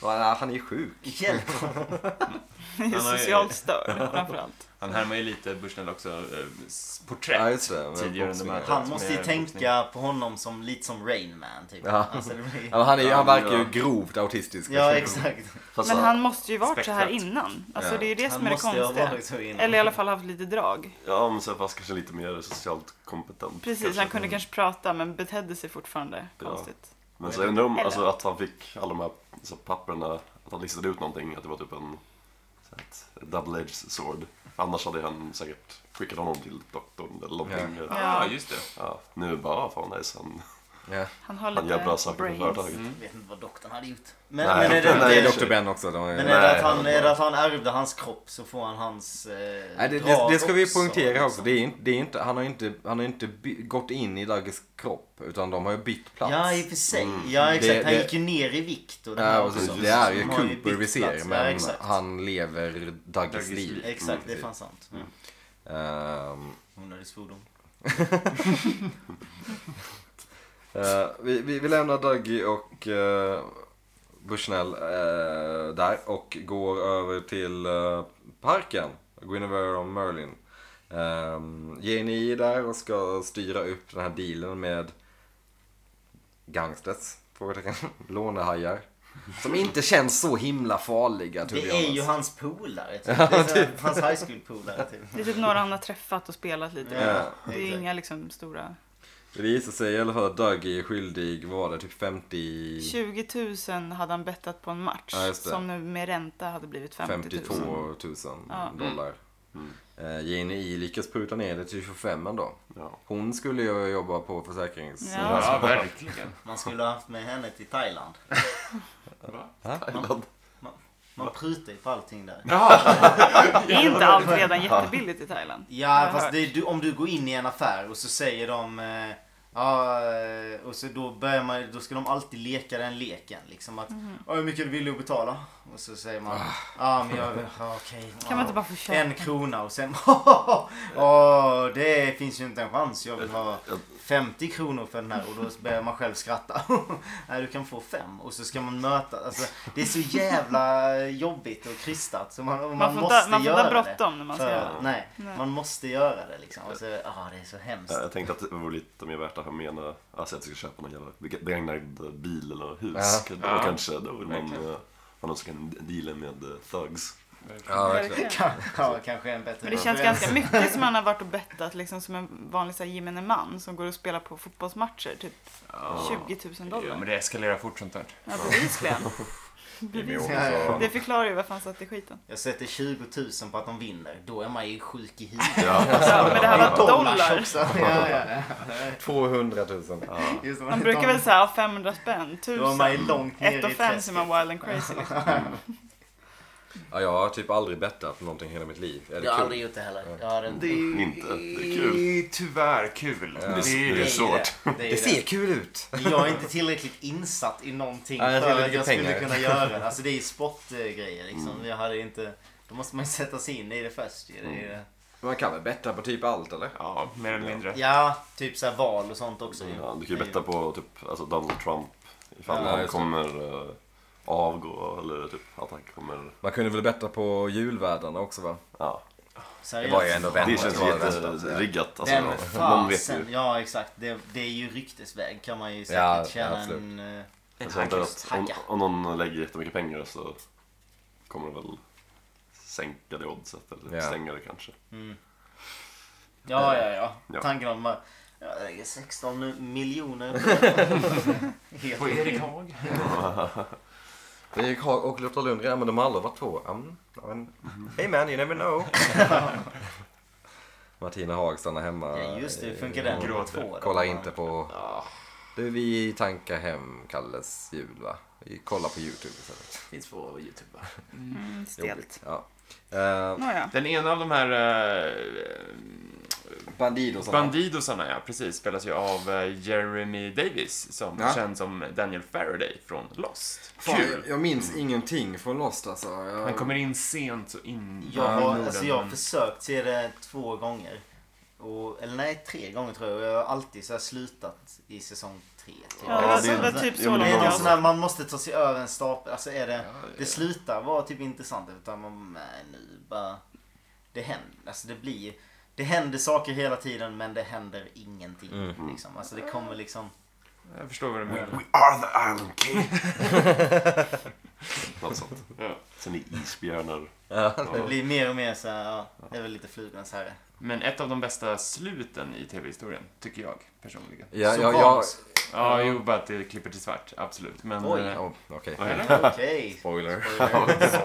Och han, "Ah, han är ju sjuk.
Hjälp honom.
Det är
Han har ju-
socialt störd framförallt.
Han härmar ju lite Bushnell också, eh, s-
Ja,
porträtt.
just det. med
Tidigare under
boxningen.
mötet.
Han måste ju
Med
tänka på honom som lite som Rain Man typ.
Ja.
Alltså, det blir...
Ja, men han, är, ju- han verkar ju grovt autistisk.
Ja exakt.
Fast
Men
så-
han måste ju varit så här
spektrat.
innan. Alltså
Ja.
det är ju det
Han
som är det
måste ju ha
konstiga.
varit så innan.
Eller i alla fall haft lite drag.
Ja, men så fast kanske lite mer socialt kompetent.
Precis,
kanske.
han kunde kanske prata men betedde sig fortfarande konstigt.
Men så jag undrar om
Eller?
alltså, att han fick alla de här så, papperna, att han listade ut någonting, att det var typ en så här, ett double-edged sword. För annars hade han säkert skickat honom till doktorn eller någonting.
Ja, just det.
Ja, nu bara, ah, fan nice, han
Ja.
Han har
Han gör bra
lite
saker för
brains.
företaget.
Jag vet inte vad doktorn hade gjort. Men,
Nej,
men är det,
Det
Nej,
är
jag-
Dr. Ben också. De
men
är...
är det att
Nej,
han, är det att han ärvde hans kropp så får han hans eh,
Nej, det, det,
drag
det ska vi
också,
poängtera också.
liksom.
Det är, inte- det är inte, han har ju inte, han har inte by, gått in i Dagges kropp utan de har ju bytt plats.
Ja, i och för sig. Ja, exakt.
Mm. Det-
han
det-
gick ju ner i vikt. Och det, här
Ja, precis.
också.
det är ju
De har
Cooper vi
bytt
ser
plats. Ja,
men
exakt.
han lever Dagges
Dagges
liv.
liv.
Exakt, det är fan sant.
Mm.
Ja.
Ehm,
Onödig svordom.
Eh, vi, vi, vi lämnar Dougie och uh, Bushnell eh, där och går över till eh, parken. Guinevere och Merlin. Um, Janie är där och ska styra upp den här dealen med gangsters. Frågetecken. Lånehajar. Som inte känns så himla farliga to
Det
be
är ju
honest.
hans polare typ. Det är så här, hans high school polare typ.
Det är typ några han har träffat och spelat lite med.
Ja.
Det är inga liksom stora...
Det visar sig i alla fall att Dougie är skyldig, vad var det, typ 50...
20 000 hade han bettat på en match.
Ja, just det.
som nu med ränta hade blivit 50 000.
52 000
Ja.
dollar. Eh, Jane E lyckas pruta ner det till 25 ändå.
Ja.
Hon skulle ju jobba på försäkrings...
Ja.
Ja, verkligen.
Man skulle ha haft med henne till Thailand.
Thailand.
Man prutar ju på allting där.
Är inte allt redan jättebilligt i Thailand?
Ja,
jag
fast
hört.
det, är du, om du går in i en affär och så säger de... eh, Ja, eh, och så då börjar man, då ska de alltid leka den leken. Liksom att,
Mhm.
"Ja, hur mycket vill du betala? Och så säger man, ja men jag, ja, okej.
Kan man
ja,
inte bara få köpa?
En krona och sen, åh det finns ju inte en chans. Jag vill ha 50 kronor för den här och då börjar man själv skratta. Nej, du kan få fem och så ska man möta. Alltså, det är så jävla jobbigt och krystat. Så man, man,
Man får
måste
inte- man får inte
göra
ha
det.
bråttom när man ska
För-
göra det.
Nej,
Nej.
man måste göra det liksom. Och så, ah, det är så hemskt.
Ja, Jag tänkte att det vore lite mer värt att ha med en, eh, alltså att jag ska köpa någon jävla vilket- begagnad bil eller hus.
Ja.
Då
Ja.
kanske då vill man
Verkligen.
eh, ha någon som kan deala med eh, thugs.
Ja, verkligen.
Verkligen.
Ja, kanske en bättre
Men det känns
referens.
ganska mycket som han har varit och bettat liksom som en vanlig så här, gemene man som går och spelar på fotbollsmatcher. Typ 20 000
Ja, men
dollar.
det eskalerar fort sånt där.
Ja, bevisligen.
Ja,
Det förklarar ju varför han satt i skiten.
Jag sätter 20 000 på att de vinner. Då är man ju sjuk i huvudet.
Ja, men det här var dollar.
också. Ja, ja, ja.
200 000.
Just det,
Man
är
brukar
dollar.
väl säga 500 spänn,
Då är man
1000.
ju långt ner
Ett och
i
fem som är
träsket.
wild and crazy. Liksom.
Ja, jag har typ aldrig bettat på någonting hela mitt liv. Är det
Jag har
kul?
aldrig gjort det heller. Jag har
Det
en...
är,
Inte. Det är kul.
tyvärr kul.
Det, är-
ju
det är svårt.
Det, är ju det.
kul ut.
Jag är inte tillräckligt insatt i någonting
Nej, jag
för
tillräckligt
att jag skulle
pengar.
kunna göra det. Alltså det är ju sportgrejer liksom. Jag hade inte... Då måste man ju sätta sig in i det först ju. Det är ju...
Man kan väl betta på typ allt eller?
Ja, mer eller mindre.
Ja, typ såhär val och sånt också ju.
Ja, du kan ju betta på typ, alltså Donald Trump ifall
Ja,
han
just det.
kommer eh, avgå eller typ att han kommer...
Man kunde väl betta på julvärdarna också va?
Ja.
Det
Seriöst.
var ju ändå
Det
väntat.
känns
var det värsta.
jätteriggat. Alltså,
Vem
någon vet ju.
fasen. Ja exakt. Det, det är ju ryktesväg kan man ju säkert
Ja,
känna
absolut.
en... eh,
Jag tror inte att om,
hacka.
om någon lägger jättemycket pengar så kommer de väl sänka det oddset eller typ
Ja.
stänga det kanske.
Ja, ja, ja.
Ja.
Tanken om att jag lägger 16 nu- miljoner. Helt
På Erik Haag.
Men Erik Haag och Lotta Lundgren, ja, men de har aldrig varit två. Mm, ja, men, hey man, you never know. Martina Haag stannar hemma.
Ja, just det. Hur funkar
i-
den?
Gråter.
Två då?
Kolla inte på... Du, vi tankar hem Kalles jul va? Vi kollar på YouTube istället.
Finns på Youtube va?
Mm,
Jobbigt,
stelt.
Ja. Uh,
Nåja.
Den ena av de här
Bandidos.
eh, Bandidosarna, ja precis, spelas ju av eh, Jeremy Davis som
Ja.
känns som Daniel Faraday från Lost.
Fan,
Kul!
Jag minns ingenting från Lost alltså. Jag...
Han kommer in sent så in
Jag
i
har,
Norden,
alltså, jag har
men-
försökt se det två gånger. Och, eller nej, tre gånger tror jag. Och jag har alltid så här slutat i säsong tre. Typ.
Ja, det
Ja,
var,
det-
det var typ
ja,
så
men
Det
långt
är någon
någon
jag
sån här, man måste ta sig över en stapel. Alltså är det, det
ja.
slutar vara typ intressant utan man, nej nu bara. Det händer, alltså det blir, det händer saker hela tiden men det händer ingenting.
Mm.
Liksom. Alltså det kommer liksom.
Jag förstår vad du menar.
We are the island king! Något sånt.
Ja.
Sen är isbjörnar.
Det blir mer och mer så här, ja, det är väl lite flugornas herre.
Men ett av de bästa sluten i tv-historien, tycker jag personligen.
Ja,
Så
jag, jag...
Sopranos.
Ja, jo, bara att det klipper till svart, absolut. Men...
Oj.
eh,
Oh, Okej.
Eller?
Okej.
Spoiler.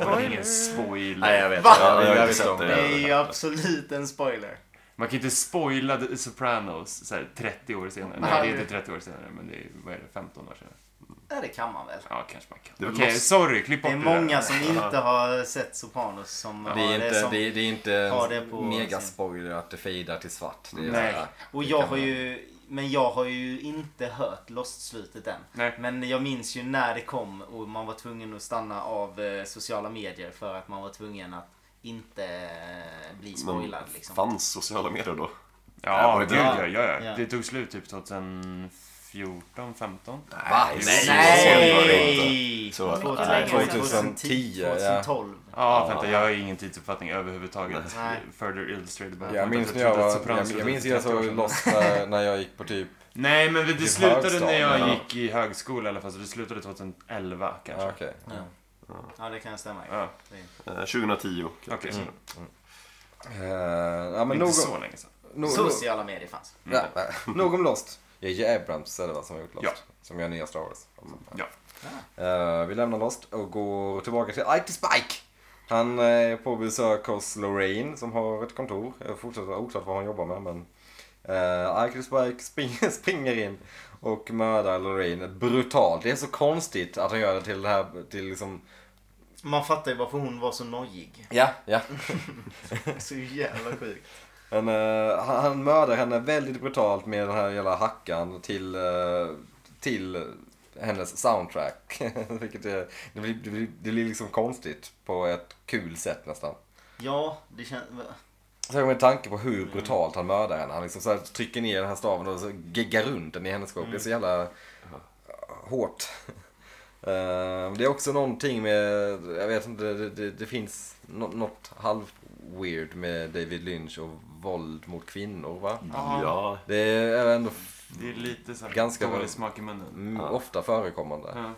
Det var ingen spoiler.
Nej, jag vet inte.
Ja, jag har
Jag
inte
visste
sett
om
det.
Det är ju absolut en spoiler.
Man kan ju inte spoila The Sopranos så här, 30 år senare.
Nej.
Nej, det är inte 30 år senare, men det är, vad är det, 15 år senare?
Ja, det kan man väl.
Ja, kanske man kan.
Det är
Okej,
väl lost.
sorry, klipp
Det
bort
är
där.
många som inte
Ja.
har sett Sopranos som
Det
har
är
det
inte,
som...
det är, det är inte
har
en
det på sin-
megaspoiler att det fejdar till svart. Det är
Nej.
såhär,
Och
det
jag
kan
har
man-
ju... Men jag har ju inte hört Lost-slutet än.
Nej.
Men jag minns ju när det kom och man var tvungen att stanna av eh, sociala medier för att man var tvungen att inte eh, bli spoilad liksom.
fanns sociala medier då?
Ja,
Ja,
gud ja, ja,
Ja.
ja. Det tog slut typ 2014, 15.
Va?
Nej,
Nej!
så var det inte.
alltså.
Nej!
Så var det.
2010, ja.
2012.
Ja, vänta, jag har ingen tidsuppfattning överhuvudtaget.
Nej.
Further illustrated by
Jag minns
trodde
när jag
att
var,
Sopranos
jag, jag
slutade
minns
för 30
när jag
år sedan.
såg Lost när, när jag gick på typ,
Nej, men det
Typ
slutade när
högstadiet,
jag
ja.
gick i högskola i alla fall, så det slutade 2011
ja
kanske.
okej.
Ja. ja, det kan stämma.
Ja,
Eh, 2010.
okej.
Mm.
Eh, ja, men
Inte
nog,
så länge sedan.
nog, nog,
Sociala medier fanns.
ja, nej, nog om Lost. J.J. Mm. Abrams är det va som har gjort Lost?
Ja.
Som gör nya Star Wars.
Ja.
Eh, vi lämnar Lost och går tillbaka till Ike the Spike. Han eh, är på besök hos Lorraine som har ett kontor. Jag är fortfarande oklart vad hon jobbar med men eh, Ike the Spike spring, springer in och mördar Lorraine brutalt. Det är så konstigt att han gör det till det här till liksom
Man fattar ju varför hon var så nojig.
Ja, ja.
Så jävla sjukt.
Men, eh, han, han mördar henne väldigt brutalt med den här jävla hackan till, eh, till hennes soundtrack. Vilket är, det, blir, det, blir, det blir liksom konstigt på ett kul sätt nästan.
Ja, det känns...
Särskilt med tanke på hur brutalt han mördar henne. Han liksom så här trycker ner den här staven och så geggar runt den i hennes kropp. Det är så jävla hårt. Eh, det är också någonting med, jag vet inte, det, det, det finns nå- något halv weird med David Lynch och våld mot kvinnor va?
Ja.
Det är ändå f-
Det är lite så här
Ganska bra.
dålig smak i munnen.
m-
Ja.
ofta förekommande.
Ja.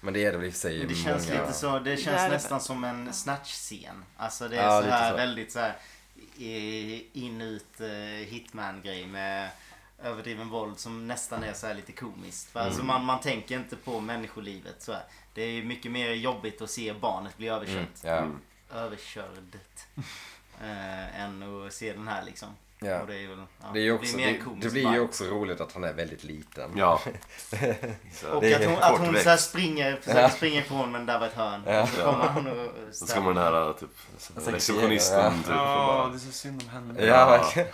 Men det är det väl i och för sig i
Det känns
många...
lite så, det känns
Där är det.
nästan som en snatch-scen. Alltså det är
Ja,
så
lite
här
så.
väldigt så här eh, in ut eh, hitman-grej med överdriven våld som nästan är så här lite komiskt. För
Mm.
Alltså man, man tänker inte på människolivet så här. Det är ju mycket mer jobbigt att se barnet bli överkört.
Mm, ja.
Mm.
Överkördet. eh, än att se den här liksom.
Ja.
Och det är ju ja,
Det, är ju också,
mer
det,
komiskt
det blir ju
bara.
också roligt att han är väldigt liten.
Ja.
Och
Det är
att hon, att hon
kortväxt.
så här springer, försöker springa ifrån men där var ett hörn. Och så kommer hon och
Sen ska man den här typ
tänker-
receptionisten typ. och
Ja,
bara-
det är så synd om henne.
Ja, verkligen.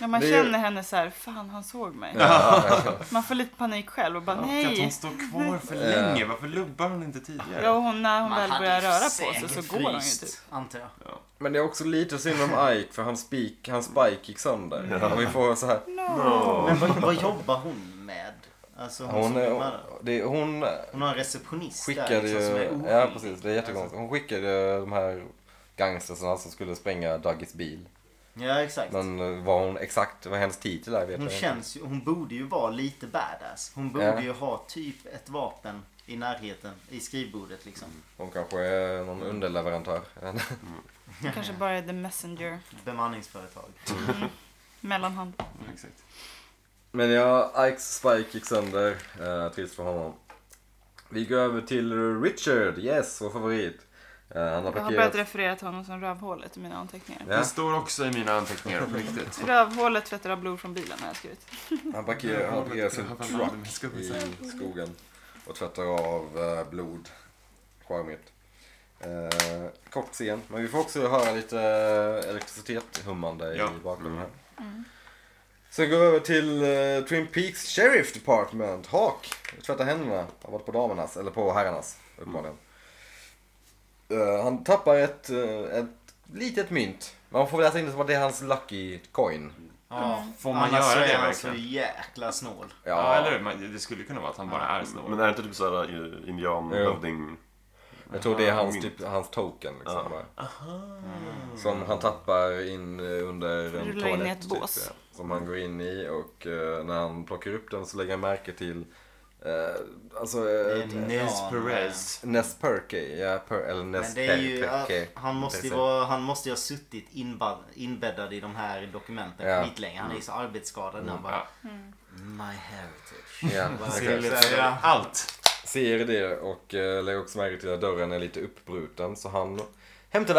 Ja, man
Det är-
känner henne så här, fan han såg mig. Man får lite panik själv och bara
Och att hon
nej.
står kvar för
Ja.
länge. Varför lubbar hon inte tidigare?
Ja, och hon, när hon
Man
väl
hade
börjar
ju
röra på sig
säkert
så går hon ju
fryst,
typ.
Antar jag.
Men det är också lite synd om Ike för hans, spik, hans spike gick sönder. Och vi får så här...
Men vad, vad jobbar hon med? Alltså hon,
Hon,
som är,
är,
mördare.
det, hon
hon har en receptionist där
skickade
liksom, som är
ju...
oskyldig.
Ja, precis. Det är jättekonstigt. Hon skickade de här gangstersarna som skulle spränga Dougies bil.
Ja exakt.
Men eh, vad hon exakt, vad hennes titel är vet
Hon
jag inte.
känns ju, hon borde ju vara lite badass. Hon borde
Ja.
ju ha typ ett vapen i närheten, i skrivbordet liksom.
Hon kanske är någon underleverantör.
Hon kanske bara är the messenger.
Bemanningsföretag.
Mellanhand.
Ja, Exakt.
Men ja, Ikes Spike gick sönder. Eh, trist för honom. Vi går över till Richard, yes, vår favorit. Eh, han har
Jag har börjat
parkerat...
referera till honom som rövhålet i mina anteckningar.
Ja,
Det står också i mina anteckningar på riktigt.
Rövhålet tvättar av blod från bilen har jag skrivit.
han parkerar, eh, han parkerar sin
Jag har fan aldrig
truck
med skugga.
i
Mm.
skogen och tvättar av eh, blod. Charmigt. Eh, kort scen, men vi får också höra lite eh, elektricitet hummande
Ja.
i bakgrunden här. Sen går vi över till eh, Twin Peaks Sheriff Department. Hawk tvättar händerna. Har varit på damernas, eller på herrarnas uppenbarligen. Eh, han tappar ett, eh, ett litet mynt. Man får väl läsa in det som att det är hans lucky coin.
Ja.
Mm.
Får man
Annars
göra
så
det
är han så
verkligen?
jäkla snål.
Ja,
Ja, eller hur? Men Det skulle kunna vara att han bara är
Men
snål.
är det inte typ såhär eh, indian
Jo.
hövding?
Jag tror det är hans,
mynt.
typ, hans token. Liksom, bara. Som han tappar in eh, under en
Rullar in i
toalett.
ett bås.
Typ, ja. Som han går in i och eh, när han plockar upp den så lägger han märke till eh, alltså,
Det
eh,
är
ett-
en
Nils
indian.
Perez.
Nesperke, ja, per, eller
Men det är ju,
Nesperke.
han, måste ju
Precis.
vara, han måste ju ha suttit inbad, inbäddad i de här dokumenten
Ja. Mm.
skitlänge. Han är ju så arbetsskadad när han bara
Ja. Mm.
My heritage.
Ja,
Bara,
exakt.
så här, ja.
Allt!
Ser det och eh, lägger också märke till att dörren är lite uppbruten så han Hem till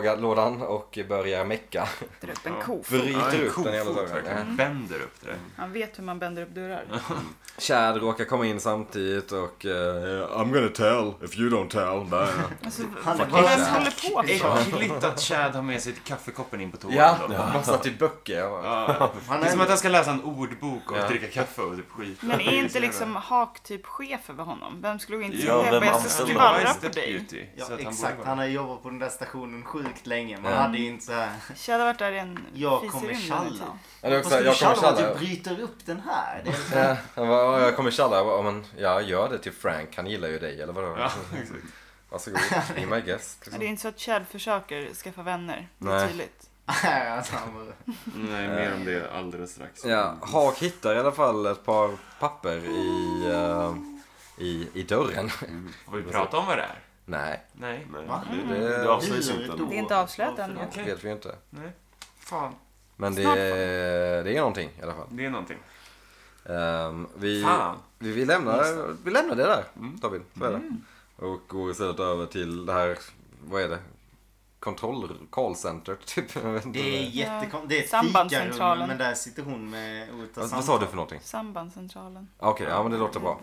verktygslådan och börjar mecka.
Drar upp en kofot.
Bryter
en
upp den jävla
kofot
dörren.
verkligen. Mm. Vänder upp det.
Han vet hur man bänder upp dörrar.
Chad råkar komma in samtidigt och... eh, I'm gonna tell if you don't tell. Där.
Alltså,
Han är
vem
bara-
håller på så?
Äckligt att Chad har med sig kaffekoppen in på toan.
ja,
då.
massa typ böcker. Jag bara,
Ja.
Han
Det är som att
är,
han ska läsa en ordbok och
Ja.
dricka kaffe och typ skit.
Men är inte liksom Haak typ chef över honom? Vem skulle inte
Ja,
säga
vem
att jag ska
anställer
skvallra
Vice
på dig?
Deputy,
ja,
så att han
exakt,
borde
han
vara-
har jobbat på den där stationen sjukt länge. Man
Ja.
hade ju inte så här.
Chad har varit där i en
Jag
fisig
kommer
rymd
tjalla.
nu, typ.
Ja, det är
Vad
också,
ska du
jag kommer
tjalla om Typ att
tjalla.
du bryter upp den här? Det är
Ja, han bara, "Ja, jag kommer tjalla. Jag bara, "Ja, men jag gör det till Frank. Han gillar ju dig eller vadå?
Ja, exakt.
Varsågod, be my
Men
guest.
det är
Liksom.
inte så att Chad försöker skaffa vänner. Det är
Nej.
tydligt.
Nej, alltså, han bara-
Nej, mer om det alldeles strax.
Ja, Hak hittar i alla fall ett par papper i, eh, i, i dörren.
Mm.
Får vi prata om vad det är?
Nej,
Nej.
Nej,
Va?
det, det,
Mm.
det avslöjas
Hur
inte.
då?
Det är inte avslöjat än.
Varför då?
det vet vi ju inte.
Nej. Fan.
Men det,
Snart.
det är någonting i alla fall.
Det är någonting.
Ehm, vi,
Fan.
vi, vi, lämnar, vi lämnar det där, David. Så är det.
Mm.
Och går istället över till det här, vad är det? Kontroll callcenter typ. Jag vet inte vad
Det är
det är.
jättekonstigt. Det är ett fikarum,
Sambandscentralen.
men där sitter hon med olika
Vad, vad sa
samtal.
du för någonting?
Sambandscentralen.
Ah, Okej, ja men det låter bra.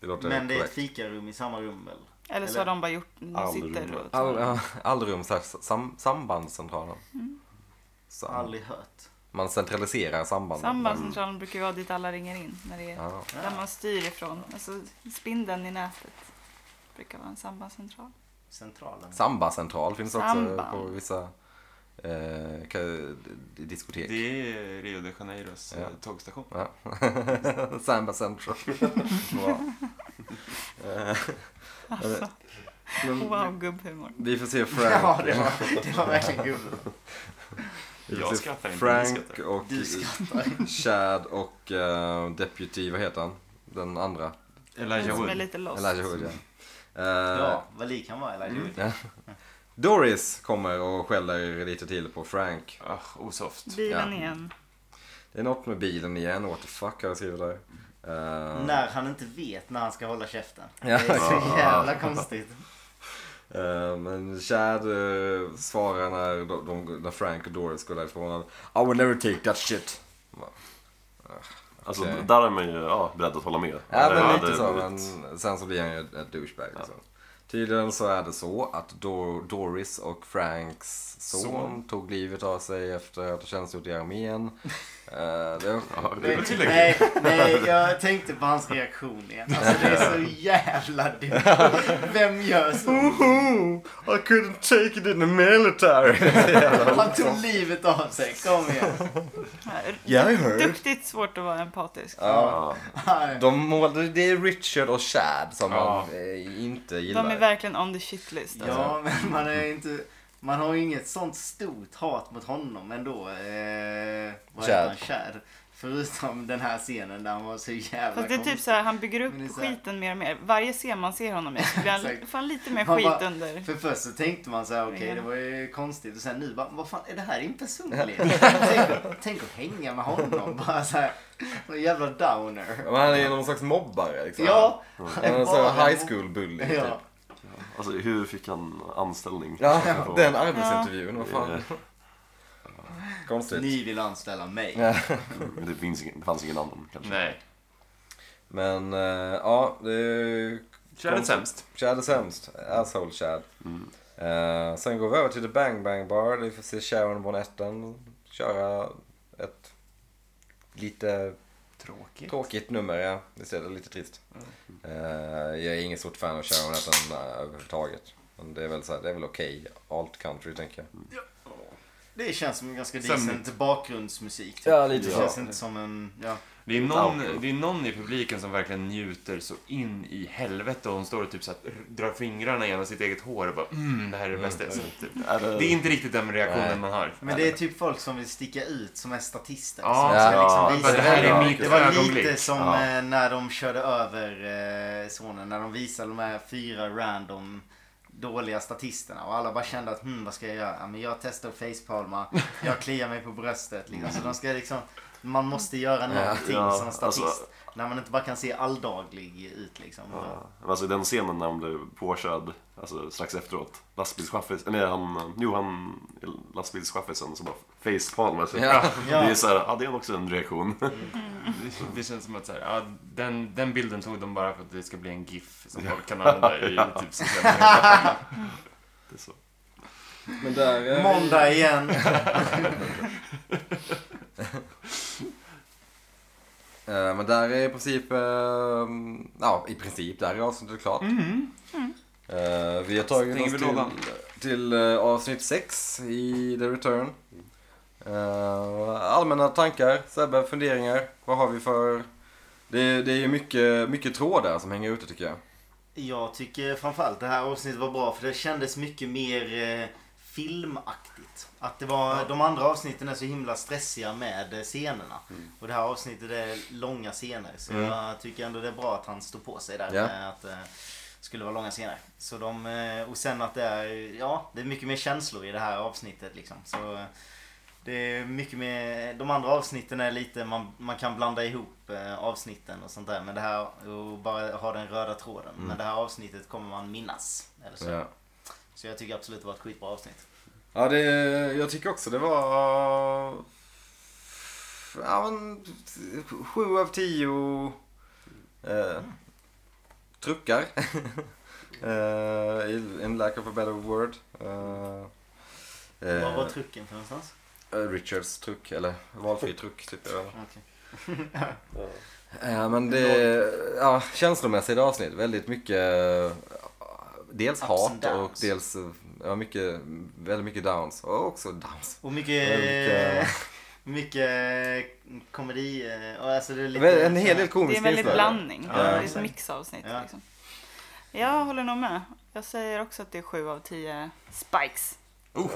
Det låter
Men det är ett
korrekt.
fikarum i samma rum väl?
Eller så
Eller-
har de bara gjort, de sitter
Allrummet.
och
All,
tar.
ja, Allrum, så här, sam, sambandscentralen.
Mm.
Sam,
Aldrig hört.
Man centraliserar sambanden.
Sambandscentralen brukar ju vara dit alla ringer in. När det är
Ja.
där man styr ifrån. Alltså spindeln i nätet. Brukar vara en sambandscentral.
Centralen.
Sambacentral finns också
Samba.
på vissa eh, ka- d- diskotek.
Det är Rio de Janeiros eh, tågstation.
Ja. Samba Central. Bra. Eh,
Alltså.
Alltså. men
Wow, gubbhumor.
Vi får se Frank.
Ja, det var, det var verkligen gubbigt.
Vi får
Jag
se
skrattar inte, ni
Frank
skrattar.
och Chad och eh, Deputy, vad heter han? Den andra.
Den
Elijah
som är
Wood.
lite lost.
Elijah Wood, ja. Eh,
Ja, vad lik han var Elijah
Mm.
Wood.
Doris kommer och skäller lite till på Frank.
Ah, osoft.
Bilen
Ja.
igen.
Det är något med bilen igen, what the fuck har jag skrivit där. Eh,
När han inte vet när han ska hålla käften. Det
Ja.
är så jävla konstigt.
Eh, Men Chad eh, svarar när, de, de, när Frank och Doris går därifrån. I will never take that shit.
Alltså,
Okej.
Där är man ju ja, beredd att hålla med.
Ja,
Eller,
men lite
det-
så. Men sen så blir han ju ett douchebag. Liksom. Tydligen så är det så att Dor- Doris och Franks son,
Son.
tog livet av sig efter att ha tjänstgjort i armén. Eh, det,
Ja, det-
Det var tillräckligt.
Nej, nej, jag tänkte på hans reaktion igen. Alltså det är så jävla dumt. Vem gör så?
I couldn't take it in the military.
Han tog livet av sig. Kom igen.
Här.
Yeah, I heard.
Duktigt svårt att vara empatisk.
Ja,
Nej.
de målade, det är Richard och Chad som
Ja.
man eh, inte gillar.
De är verkligen on the shit list. Alltså.
Ja, men man är inte... Man har ju inget sånt stort hat mot honom ändå. Eh, vad
Chad.
heter han? Chad. Förutom den här scenen där han var så jävla
Fast det är typ
konstig.
så här, han bygger upp
Men det är så här-
skiten mer och mer. Varje scen man ser honom i så blir han
Exakt.
fan lite mer
Han
skit
bara-
under.
För först så tänkte man så här, okej
Ja.
det var ju konstigt. Och sen nu bara, vad fan är det här din personlighet? tänk, tänk att hänga med honom. Bara så här, en jävla downer.
Men han är ju någon slags mobbare liksom.
Ja.
Han är en sån här high school bully typ.
Ja.
Alltså, hur fick han anställning?
Ja, den arbetsintervjun, vad fan. Konstigt.
Ni vill anställa mig.
typ. Ja.
Men Mm, det, finns ingen, det fanns ingen annan kanske.
Nej.
Men eh, ja, det är
Kärlet sämst.
Chad är sämst. Asshole Chad. Eh, sen går vi över till The Bang Bang Bar. Vi får se Sharon Bonetten köra ett lite
Tråkigt.
tråkigt nummer. Ja. Visst är det lite trist. Eh, jag är ingen stort fan av Sharon Bonetten eh, överhuvudtaget. Men det är väl, så här, det är väl okej. Alt country tänker jag.
Det känns som en ganska
Sömnigt.
decent bakgrundsmusik. typ.
Ja, lite
det
så.
känns inte som en... Ja.
Det är, någon, det är någon i publiken som verkligen njuter så in i helvete och hon står och typ så här, drar fingrarna genom sitt eget hår och bara mm, det här är det bästa jag sett. Typ.
Är det,
Det är inte riktigt den reaktionen
Nej.
man har.
Men det är typ folk som vill sticka ut som är statister.
Ja,
som
ja.
ska liksom
Ja,
visa
det här är
det.
mitt
det var
ögonblick.
lite som
Ja.
eh, när de körde över eh, sonen. När de visade de här fyra random dåliga statisterna och alla bara kände att hmm, vad ska jag göra? Ja, Men jag testar att facepalma, jag kliar mig på bröstet. Liksom. Så de ska liksom, man måste göra någonting
Ja,
som statist.
alltså-
när man inte bara kan se alldaglig ut liksom.
Ja. Men Alltså i den scenen när han blev påkörd, alltså strax efteråt, lastbilschaffisen, nej han, jo han, lastbilschaffisen som bara facepalmar sig.
Ja.
Det är såhär, ja det är också en reaktion.
Det, det känns som att så här, ja, den, den bilden tog de bara för att det ska bli en GIF som folk kan använda i typ sociala medier.
Det är så.
Men där... är vi-
Måndag igen.
Eh, Men där är i princip... eh, Ja, i princip där är avsnittet klart. Eh, vi har tagit
Stänger
oss
vi
till,
lådan?
till eh, avsnitt 6 i The Return. Eh, allmänna tankar, Sebbe, funderingar. Vad har vi för... Det, det är ju mycket, mycket trådar som hänger ute tycker jag.
Jag tycker framförallt det här avsnittet var bra för det kändes mycket mer eh, filmaktigt. Att det var, De andra avsnitten är så himla stressiga med eh, scenerna. Och det här avsnittet är långa scener. Så jag tycker ändå det är bra att han står på sig där.
Ja.
Med att eh, det skulle vara långa scener. Så de, eh, och sen att det är, ja, det är mycket mer känslor i det här avsnittet. Liksom. Så, eh, det är mycket mer, de andra avsnitten är lite, man, man kan blanda ihop eh, avsnitten och sånt där. Men det här, och bara ha den röda tråden. Men det här avsnittet kommer man minnas. Eller så.
Mm. Ja.
så jag tycker absolut det var ett skitbra avsnitt.
Ja, det, jag tycker också det var... Ja, men, sju av tio eh, truckar. eh, in lack of a better word. Eh,
Vad var
eh,
trucken för någonstans?
eh, Richards truck, eller valfri truck typ. jag vet inte.
Okej.
Eh, men det ja, känslomässigt avsnitt. Väldigt mycket... eh,
Ups
Dels
and
hat och
downs.
dels eh, ja, mycket, väldigt mycket downs. Och också downs.
Och mycket...
Olika-
Mycket komedi. eh, Och alltså det är
Men
lite,
en hel del
Det är
komiskt
en väldig
inslag.
blandning.
Ja,
det är ett
exakt.
mixavsnitt.
Ja.
Liksom. Jag håller nog med. Jag säger också att det är 7 av 10 spikes.
Ja.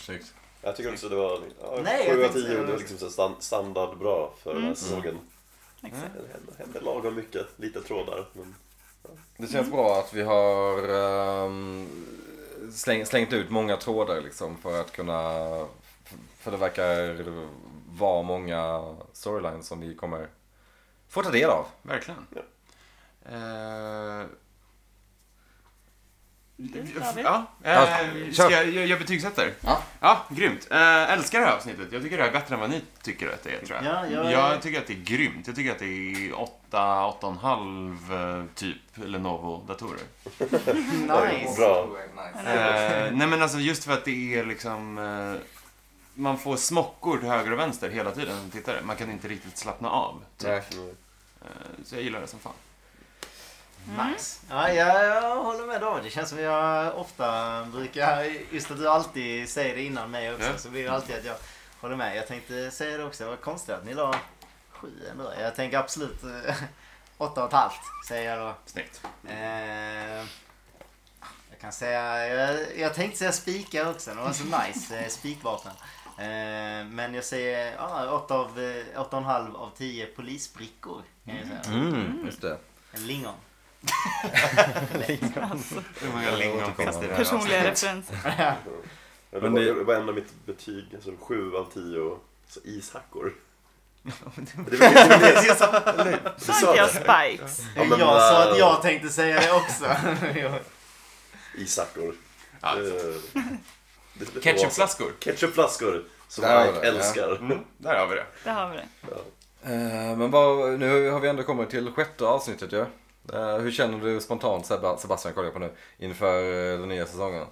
Snyggt.
Jag tycker också det var ja,
Nej, jag
sju av
tänkte-
tio, det var liksom så stan- standardbra för
Mm.
den här säsongen.
Exakt.
Det hände, hände lagom mycket, lite trådar. Men...
Det känns bra att vi har ehm, släng, slängt ut många trådar liksom för att kunna... För det verkar vara många storylines som vi kommer få ta del av.
Verkligen. Eh,
David?
Ja,
Ja,
eh,
kör.
ska jag, jag, jag betygsätter?
Ja.
ja grymt. Eh, älskar det här avsnittet. Jag tycker det här är bättre än vad ni tycker att det är, tror jag.
Ja, jag-
tycker att det är grymt. Jag tycker att det är 8, 8,5 eh, typ Lenovo-datorer.
Nice.
Bra.
Eh, nej men alltså just för att det är liksom eh, Man får smockor till höger och vänster hela tiden som tittare. Man kan inte riktigt slappna av. Typ.
Nej.
Eh, så jag gillar det som fan.
Nice. Ja, jag, jag håller med David. Det känns som jag ofta brukar, just att du alltid säger det innan mig också,
Ja.
så blir det alltid att jag håller med. Jag tänkte säga det också, vad konstigt att ni la sju ändå. Jag tänker absolut eh, åtta och ett halvt, säger jag då.
Snyggt.
Eh, jag kan säga, jag, jag tänkte säga spikar också, det var så nice, eh, spikvapen. Eh, men jag säger ja, åtta av, eh, åtta och en halv av tio polisbrickor. Kan jag säga.
Mm, just det.
En lingon.
Hur många lingon
återkommer.
finns det i det här
Personliga
avsnittet?
referenser.
Men det,
Men det-
Var, det var ändå mitt betyg, alltså sju av tio så ishackor. det var det var det jag sa. Du
Sa inte
sa
jag
det.
spikes?
Ja, men,
jag sa
äh,
eh,
att jag tänkte säga det också. Jag-
Ishackor.
Ja.
Det- det- det får vara så.
Ketchupflaskor.
Ketchupflaskor som
Där var
Mike
det, ja.
älskar.
Mm, där har vi det.
Där har vi det.
Eh, men vad, nu har vi ändå kommit till sjätte avsnittet ju. Eh, hur känner du spontant Sebba- Sebastian, kollar jag på nu, inför eh, den nya säsongen?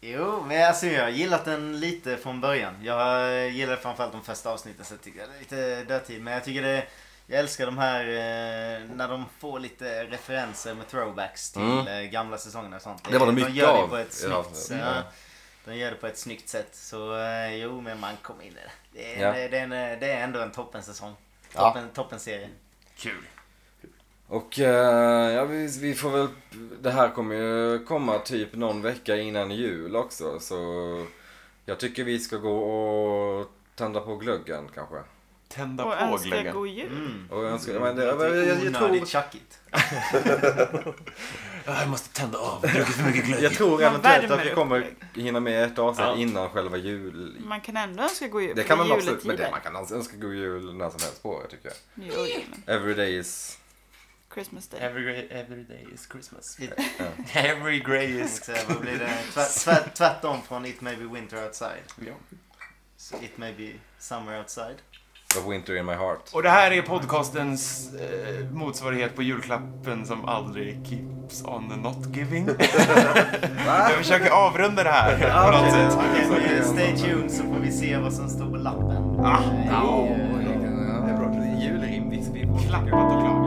Jo, men alltså jag har gillat den lite från början. Jag gillade framförallt de första avsnitten, så jag tycker det är lite dödtid. Men jag tycker det... Jag älskar de här eh, när de får lite referenser med throwbacks till
Mm.
eh, gamla säsongerna och sånt.
Det var det
de
mycket
gör det
av
på ett
i
snyggt
avsnittet.
sätt.
Mm.
Ja, de gör det på ett snyggt sätt. Så eh, jo, men man kommer in i det. Det är,
Ja.
det, det, är en, eh, det är ändå en toppen säsong.
Ja.
Toppen, toppen serie.
Kul.
Och eh, ja, vi, vi får väl, det här kommer ju komma typ någon vecka innan jul också. Så jag tycker vi ska gå och tända på glöggen kanske.
tända
Och
på
önska
glöggen.
god jul.
Mm.
Och jag önskar, men det,
Jag
jag, jag, jag, jag, tror,
Onödigt tjackigt.
Ah, Jag måste tända av, druckit för mycket glögg.
jag tror
Man
eventuellt att
värmer
vi
upp
kommer
glögg.
hinna med ett avsnitt
Ja.
innan själva jul.
Man kan ändå önska god jul.
Det
för
kan man
är
absolut, men det,
juletider.
man kan alltså önska god jul när som helst på året tycker jag.
Nu är det julen.
Every day is...
Christmas day.
Every, every day is Christmas.
It-
Every grey is...
Så Vad blir det? Tvärt, tvärt, tvärtom från It may be winter outside.
Ja.
Så it may be summer outside.
The winter in my heart.
Och det här är podcastens eh, motsvarighet på julklappen som aldrig keeps on the not giving. Jag försöker avrunda det här på något sätt.
Okej, men Stay tuned så får vi se vad som står på lappen.
Ah,
Eh,
ja.
eh,
Julrim,
Klappat och klart.